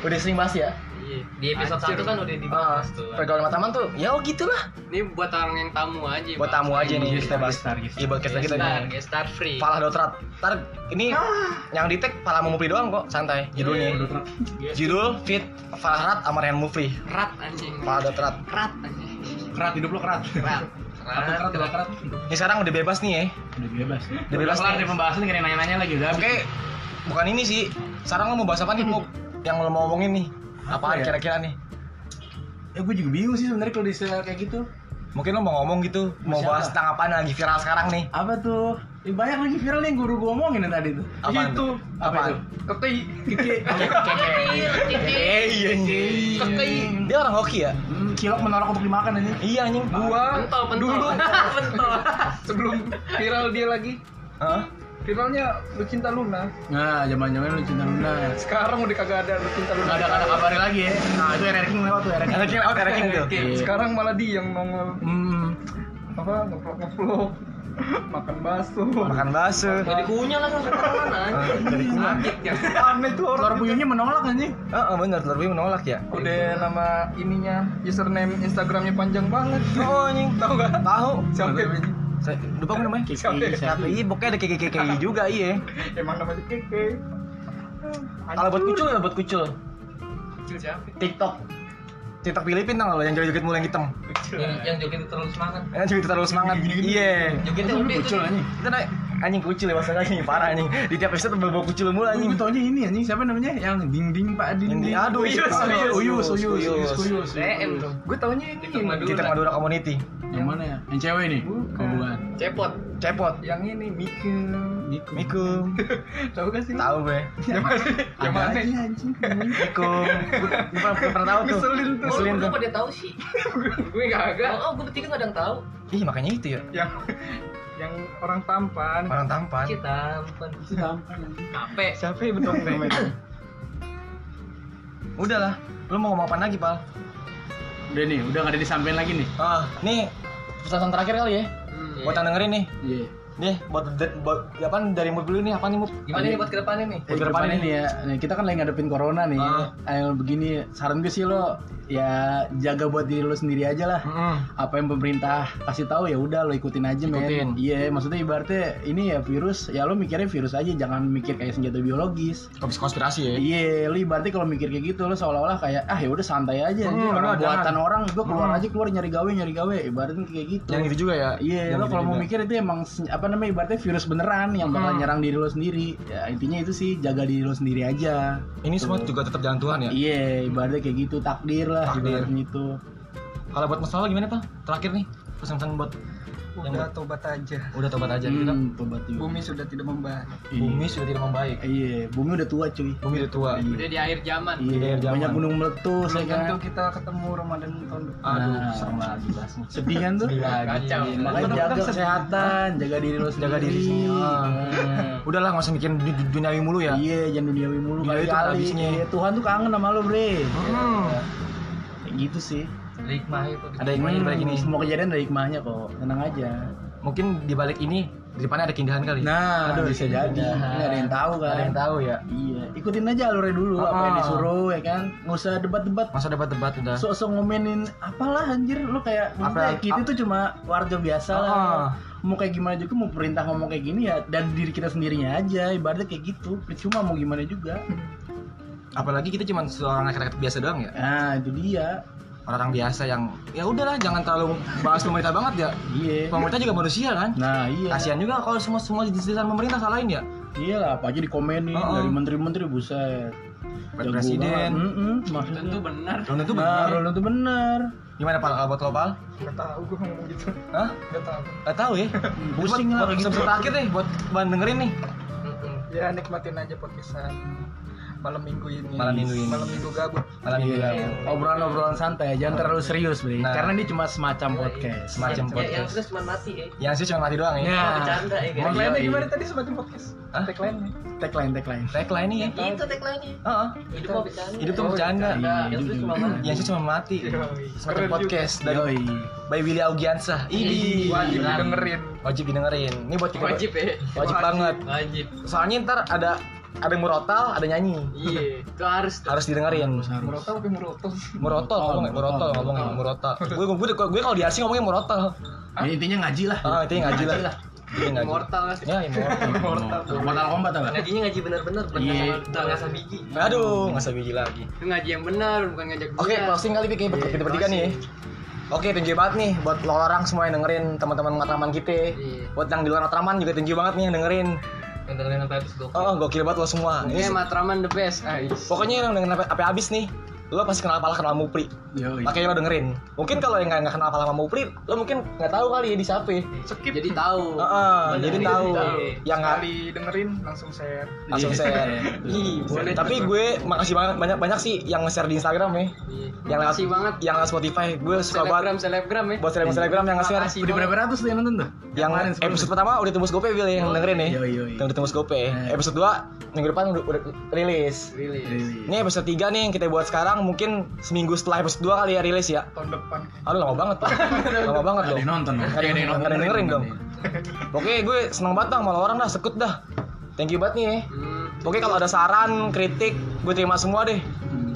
udah sering bahas ya.
Iya, di episode
Anjir.
satu kan udah
Ah,
dibahas tuh.
pergaulan sama teman tuh ya oh gitulah.
Ini buat orang yang tamu aja.
Iya,
Buat
Bang.
tamu aja nih kita bahas.
Star, Star.
Iya buat kita kita
Gestar,
nih.
gestar free.
Pala Dotrat. Ntar ini
Ah.
yang di tag Pala Mufri doang kok, santai.
Iya,
Judulnya. Judul fit Farhat sama Ryan Mufri.
Kerat anjing.
Pala Dotrat.
Kerat anjing.
kerat hidup lo kerat
Kerat.
satu kerat dua kerat
Ini sekarang udah bebas nih ya.
udah bebas
Udah
udah
bebas
bebas kelar
nih.
dari pembahasan kira nanya-nanya lagi udah habis.
Oke, bukan ini sih. Sekarang lo mau bahas apa nih, Muk? Yang lo mau ngomongin nih?
Apa
Apaan
ya?
kira-kira nih?
ya gue juga bingung sih sebenarnya kalau istilah kayak gitu
Mungkin lo mau ngomong gitu, mau
Siapa?
bahas tentang apaan yang lagi viral sekarang nih?
apa tuh ya, banyak lagi viral nih yang guru gue omongin yang tadi tuh
Apaan?
itu
apa
Apaan?
itu
keti
kiki
Eh, iya anjing. Dia orang hoki ya?
Hmm, cilok menolak untuk dimakan aja
Iya anjing.
gua
Pentol, pentol.
dulu
Pentol.
sebelum viral dia lagi
Hah?
Finalnya lu cinta Luna.
Nah, zaman-zaman lu cinta Luna.
Sekarang udah kagak ada lu cinta Luna.
Gak ada ada kabarnya lagi ya. Nah, itu ranking lewat tuh ranking.
Ranking out, ranking tuh.
Iya.
Sekarang malah dia yang nongol
Hmm.
apa ngevlog ngevlog makan bakso.
Makan bakso.
Jadi kunyah lah kan ketahuan anjing.
Dari kuman.
ya.
Aneh tuh
Telur
orang.
puyuhnya menolak anjing.
Ah, ah, bener, telur puyuh menolak ya.
Udah nama ininya username Instagramnya panjang banget.
Oh, anjing.
Tahu nggak?
Tahu.
Siapa ya?
Saya lupa gue namanya.
Kiki,
Tapi
Sati.
iya, pokoknya ada keke-keke juga, iya.
Emang namanya Keke.
Kalau buat kucul, ya buat kucul.
kecil siapa?
TikTok. TikTok Filipin tau nggak lo yang joget-joget mulai yang hitam.
Yang- Yang joget itu terlalu semangat.
Yang joget terlalu semangat. Iya.
Jogetnya udah itu.
Kucul anjing.
Kita naik anjing kucul ya bahasa anjing parah anjing. Di tiap episode berbau kucul mulu
Anjing
anjing.
gue gitu, taunya ini anjing siapa namanya? Yang dinding Pak
Yang
Dinding.
di- aduh,
Uyus,
itu-
Uyus, Uyus,
Uyus,
Uyus, Uyus,
Uyus.
Uyus.
DM tuh.
Gue taunya ini.
Itu Madura.
Kita Madura Community.
Yang mana ya? Yang cewek nih? Oh, bukan.
Cepot.
Cepot.
Yang ini Mika.
Niku.
Miku.
Tahu gak sih?
Tahu gue.
Yang mana?
lagi anjing.
Miku. Gue pernah, gua pernah tahu tuh.
Ngeselin tuh.
Oh,
Ngeselin
lu
tuh.
pada tahu sih.
Gue kagak.
Oh, gue bertiga gak ada yang tahu.
Ih, makanya itu ya.
Yang yang orang tampan.
Orang tampan.
Kita ampun.
Itu tampan anjing.
Ape.
Siapa ya betul namanya?
Udahlah. Lu mau ngomong apa lagi, Pal?
Udah nih, udah gak ada disampaikan lagi nih.
Ah, nih pesan terakhir kali ya.
Hmm.
Buat yang dengerin nih.
Iya.
Nih, buat, buat ya apaan dari mood dulu nih? Apa nih, Mood?
Gimana nih buat kedepannya nih?
Buat kedepannya nih ya, nih, kita kan lagi ngadepin corona nih.
Ah.
Ayo begini, saran gue sih lo ya jaga buat diri lo sendiri aja lah.
Heeh.
Hmm.
Apa yang pemerintah kasih tahu ya udah lo ikutin aja
Ikutin.
men. Iya, maksudnya ibaratnya ini ya virus, ya lo mikirnya virus aja, jangan mikir kayak senjata biologis.
konspirasi ya.
Iya, lu ibaratnya kalau mikir kayak gitu lo seolah-olah kayak ah ya udah santai aja.
Hmm,
anjing.
lu
orang
jangan.
buatan orang gue keluar
Hmm.
aja keluar nyari gawe nyari gawe, ibaratnya kayak gitu.
Yang gitu juga ya.
Iya,
Yang
lo
gitu
kalau mau
juga.
mikir itu emang sen- apa namanya ibaratnya virus beneran yang bakal
Hmm.
nyerang diri lo sendiri. Ya intinya itu sih jaga diri lo sendiri aja.
ini semua juga tetap jalan Tuhan ya.
Iya, ibaratnya kayak gitu takdir lah
Takdir.
ibaratnya gitu. itu.
Kalau buat masalah gimana, Pak? Terakhir nih, pesan-pesan buat
Udah tobat aja.
udah tobat aja
Jadi
kita.
Hmm, tobat juga.
Bumi sudah tidak membaik.
Hmm.
Bumi sudah tidak membaik.
Iya, bumi udah tua cuy.
Bumi udah tua.
Iya,
Udah di akhir zaman.
di air
Iya,
zaman.
banyak gunung meletus
Belum
ya
tentu
kan.
kita ketemu Ramadan tahun depan.
Aduh,
Nah,
serem lagi bahasnya.
Sedih kan tuh?
Sedih lagi.
Kacau.
Makanya
Bener-bener
jaga
sedih.
kesehatan, jaga diri lo sendiri.
Jaga diri sendiri. Ah.
Iya.
Udahlah nggak usah mikirin du- du- duniawi mulu ya.
Hmm. Iya, jangan duniawi mulu
Iya, itu
kali-kali.
habisnya.
Iya, Tuhan tuh kangen sama lo, Bre. Iya.
Hmm.
Kayak gitu sih. Hmm,
Hikmah itu.
Ada yang lain dibalik ini.
Semua kejadian ada hikmahnya kok. Tenang aja.
Mungkin dibalik ini di depannya ada keindahan kali.
Nah,
Aduh,
bisa jadi. Nggak ada yang tahu kan.
Ada yang tahu ya.
Iya, ikutin aja alurnya dulu apa yang
Ah.
disuruh ya kan. Nggak usah debat-debat.
Masa debat-debat udah.
Sok-sok ngomenin apalah anjir lu kayak maksudnya
Apa-
kita
ap-
tuh cuma warga biasa lah.
Ah.
Mau kayak gimana juga mau perintah ngomong kayak gini ya dan diri kita sendirinya aja ibaratnya kayak gitu. Percuma mau gimana juga.
Apalagi kita cuma seorang rakyat biasa doang ya.
Nah, itu dia.
Orang biasa yang ya udahlah jangan terlalu bahas pemerintah banget ya.
Iya.
Pemerintah juga manusia kan.
Nah, iya.
Kasihan juga kalau semua semua jelasan pemerintah salahin ya.
Iya lah, apa aja dikomenin
Oh, oh.
dari menteri-menteri buset.
Buat
Jago
presiden.
banget. Mm-mm,
Tentu
maksudnya.
benar.
Belum tentu
Nah,
benar.
lu tuh bener.
Gimana pal kalau buat lo pal?
Gak tahu gue ngomong gitu.
Hah?
Gak tahu.
Gak tahu ya. buat,
Pusing lah kalau
buat
gitu.
episode terakhir deh buat buat dengerin nih.
Hmm,
Ya nikmatin aja podcastan malam minggu ini.
Malam minggu ini.
Malam minggu gabut.
Malam minggu Oh,
Iya.
lalu.
Obrolan-obrolan santai, jangan terlalu serius, Bri.
Nah.
Karena ini cuma semacam podcast.
Semacam
Ya, yang
podcast.
serius cuma mati ya.
Yang sih cuma mati doang ya.
Ya.
Cuma bercanda ya guys.
Tagline-nya
iya.
gimana tadi semacam podcast?
Hah?
Tagline-nya.
Tagline, tagline.
Tagline nih ya.
Itu Gitu tagline-nya.
Heeh.
Iya kan? Hidup mau bercanda.
Hidup tuh bercanda.
Bercanda. Yang serius cuma mati.
Yang sih cuma mati.
Yoi. Keren
Semacam
juga.
podcast dari
Yoi.
by Willy Augiansa. Ini
Wajib dengerin.
Wajib dengerin. Ini buat kita.
Wajib ya.
Wajib banget.
Wajib.
Soalnya ntar ada ada yang murotal, ada nyanyi.
Iya. Itu harus. tuh.
Harus didengerin.
Merotol tapi merotol.
Murotol ngomongnya, murotol ngomongnya, murotol. Gue gue gue kalau di asing ngomongnya murotol.
Ya, intinya ngaji lah.
Ah, itu yang ngaji lah. Itu yang ngaji.
Immortal nggak sih?
Ya, immortal.
Mortal Kombat apa?
Ngajinya ngaji benar-benar.
Iya.
Benar nggak sama biji.
Aduh, nggak usah biji lagi.
Itu ngaji yang benar bukan ngajak
Oke, closing kali Pik, ya, ber- kita bertiga nih. ya. Oke, thank you banget nih buat lo orang semua yang dengerin teman-teman Matraman kita.
Iya.
Buat yang di luar Matraman juga thank you banget nih yang dengerin.
Yang dengerin sampai habis gokil.
Oh, gokil banget lo semua. Ini
Iya, Matraman the best. Ais.
pokoknya yang dengerin apa, apa habis nih. lo pasti kenal pala kenal Mupri
Oh, iya.
Yoi.
makanya lo dengerin mungkin kalau yang nggak nggak kenal pala sama Mupri lo mungkin nggak tahu kali ya di siapa
skip
jadi tahu.
Heeh, jadi
Jadi
Iya,
tahu
tahu.
yang nggak
sekali dengerin langsung share
langsung share
Ih, Iya. boleh.
tapi gue makasih banget banyak banyak sih yang nge-share di Instagram ya
Iya.
yang lewat
Makasih banget.
yang lewat Spotify gue suka
Selebgram,
banget
selebgram ya.
buat selebgram selebgram yang nge-share
Makasih
Udah berapa ratus tuh yang nonton tuh?
yang
kemarin Iya, sebelumnya.
episode pertama udah tembus gope Bil yang dengerin ya
Yoi, yoi.
yang udah tembus gope
Eh.
episode 2 minggu depan udah, udah rilis
Rilis.
Really.
ini episode 3 nih yang kita buat sekarang mungkin seminggu setelah episode 2 kali ya rilis ya
tahun depan
aduh lama banget pak lama banget
Ada
loh
yang nonton.
Nggak ada yang
Eh,
nggak ada yang dengerin dong oke gue seneng banget dong malah orang dah sekut dah thank you banget nih ya
Hmm.
Oke kalau ada saran, kritik, gue terima semua deh.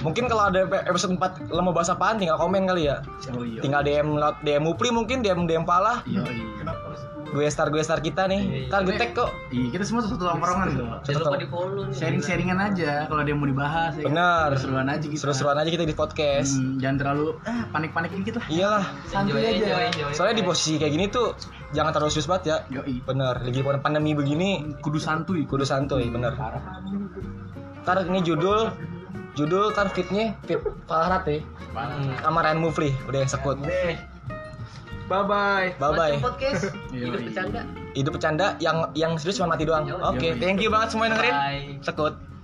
Mungkin kalau ada episode 4 lo mau bahas apaan tinggal komen kali ya.
Yoi.
Tinggal DM lewat DM Upri mungkin, DM DM Pala,
Yoi.
kenapa harus
gue star gue star kita nih. Ntar gue tag kok.
Iya, kita semua satu tongkrongan kok.
Jangan lupa di follow nih.
Sharing-sharingan aja kalau ada yang mau dibahas. ya kan?
Benar.
Seru-seruan aja gitu.
Seru-seruan aja kita di podcast.
Hmm, jangan terlalu eh, panik-panik dikit lah.
Iyalah.
Santuy
Enjoy, enjoy,
aja.
enjoy.
Soalnya di posisi kayak gini tuh jangan terlalu serius banget ya.
Yoi.
Bener. Lagi pandemi begini,
Kudu santuy.
kudu santuy. Bener. Ntar ini judul, judul ntar fitnya fit Falrat ya. Sama Ryan Mufli udah yang sekut.
bye bye
Bye bye.
Macam podcast. Hidup
Yoi.
bercanda.
hidup bercanda yang yang serius cuma mati doang. Oke,
Yoi.
thank you banget semua yang dengerin.
Bye.
Sekut.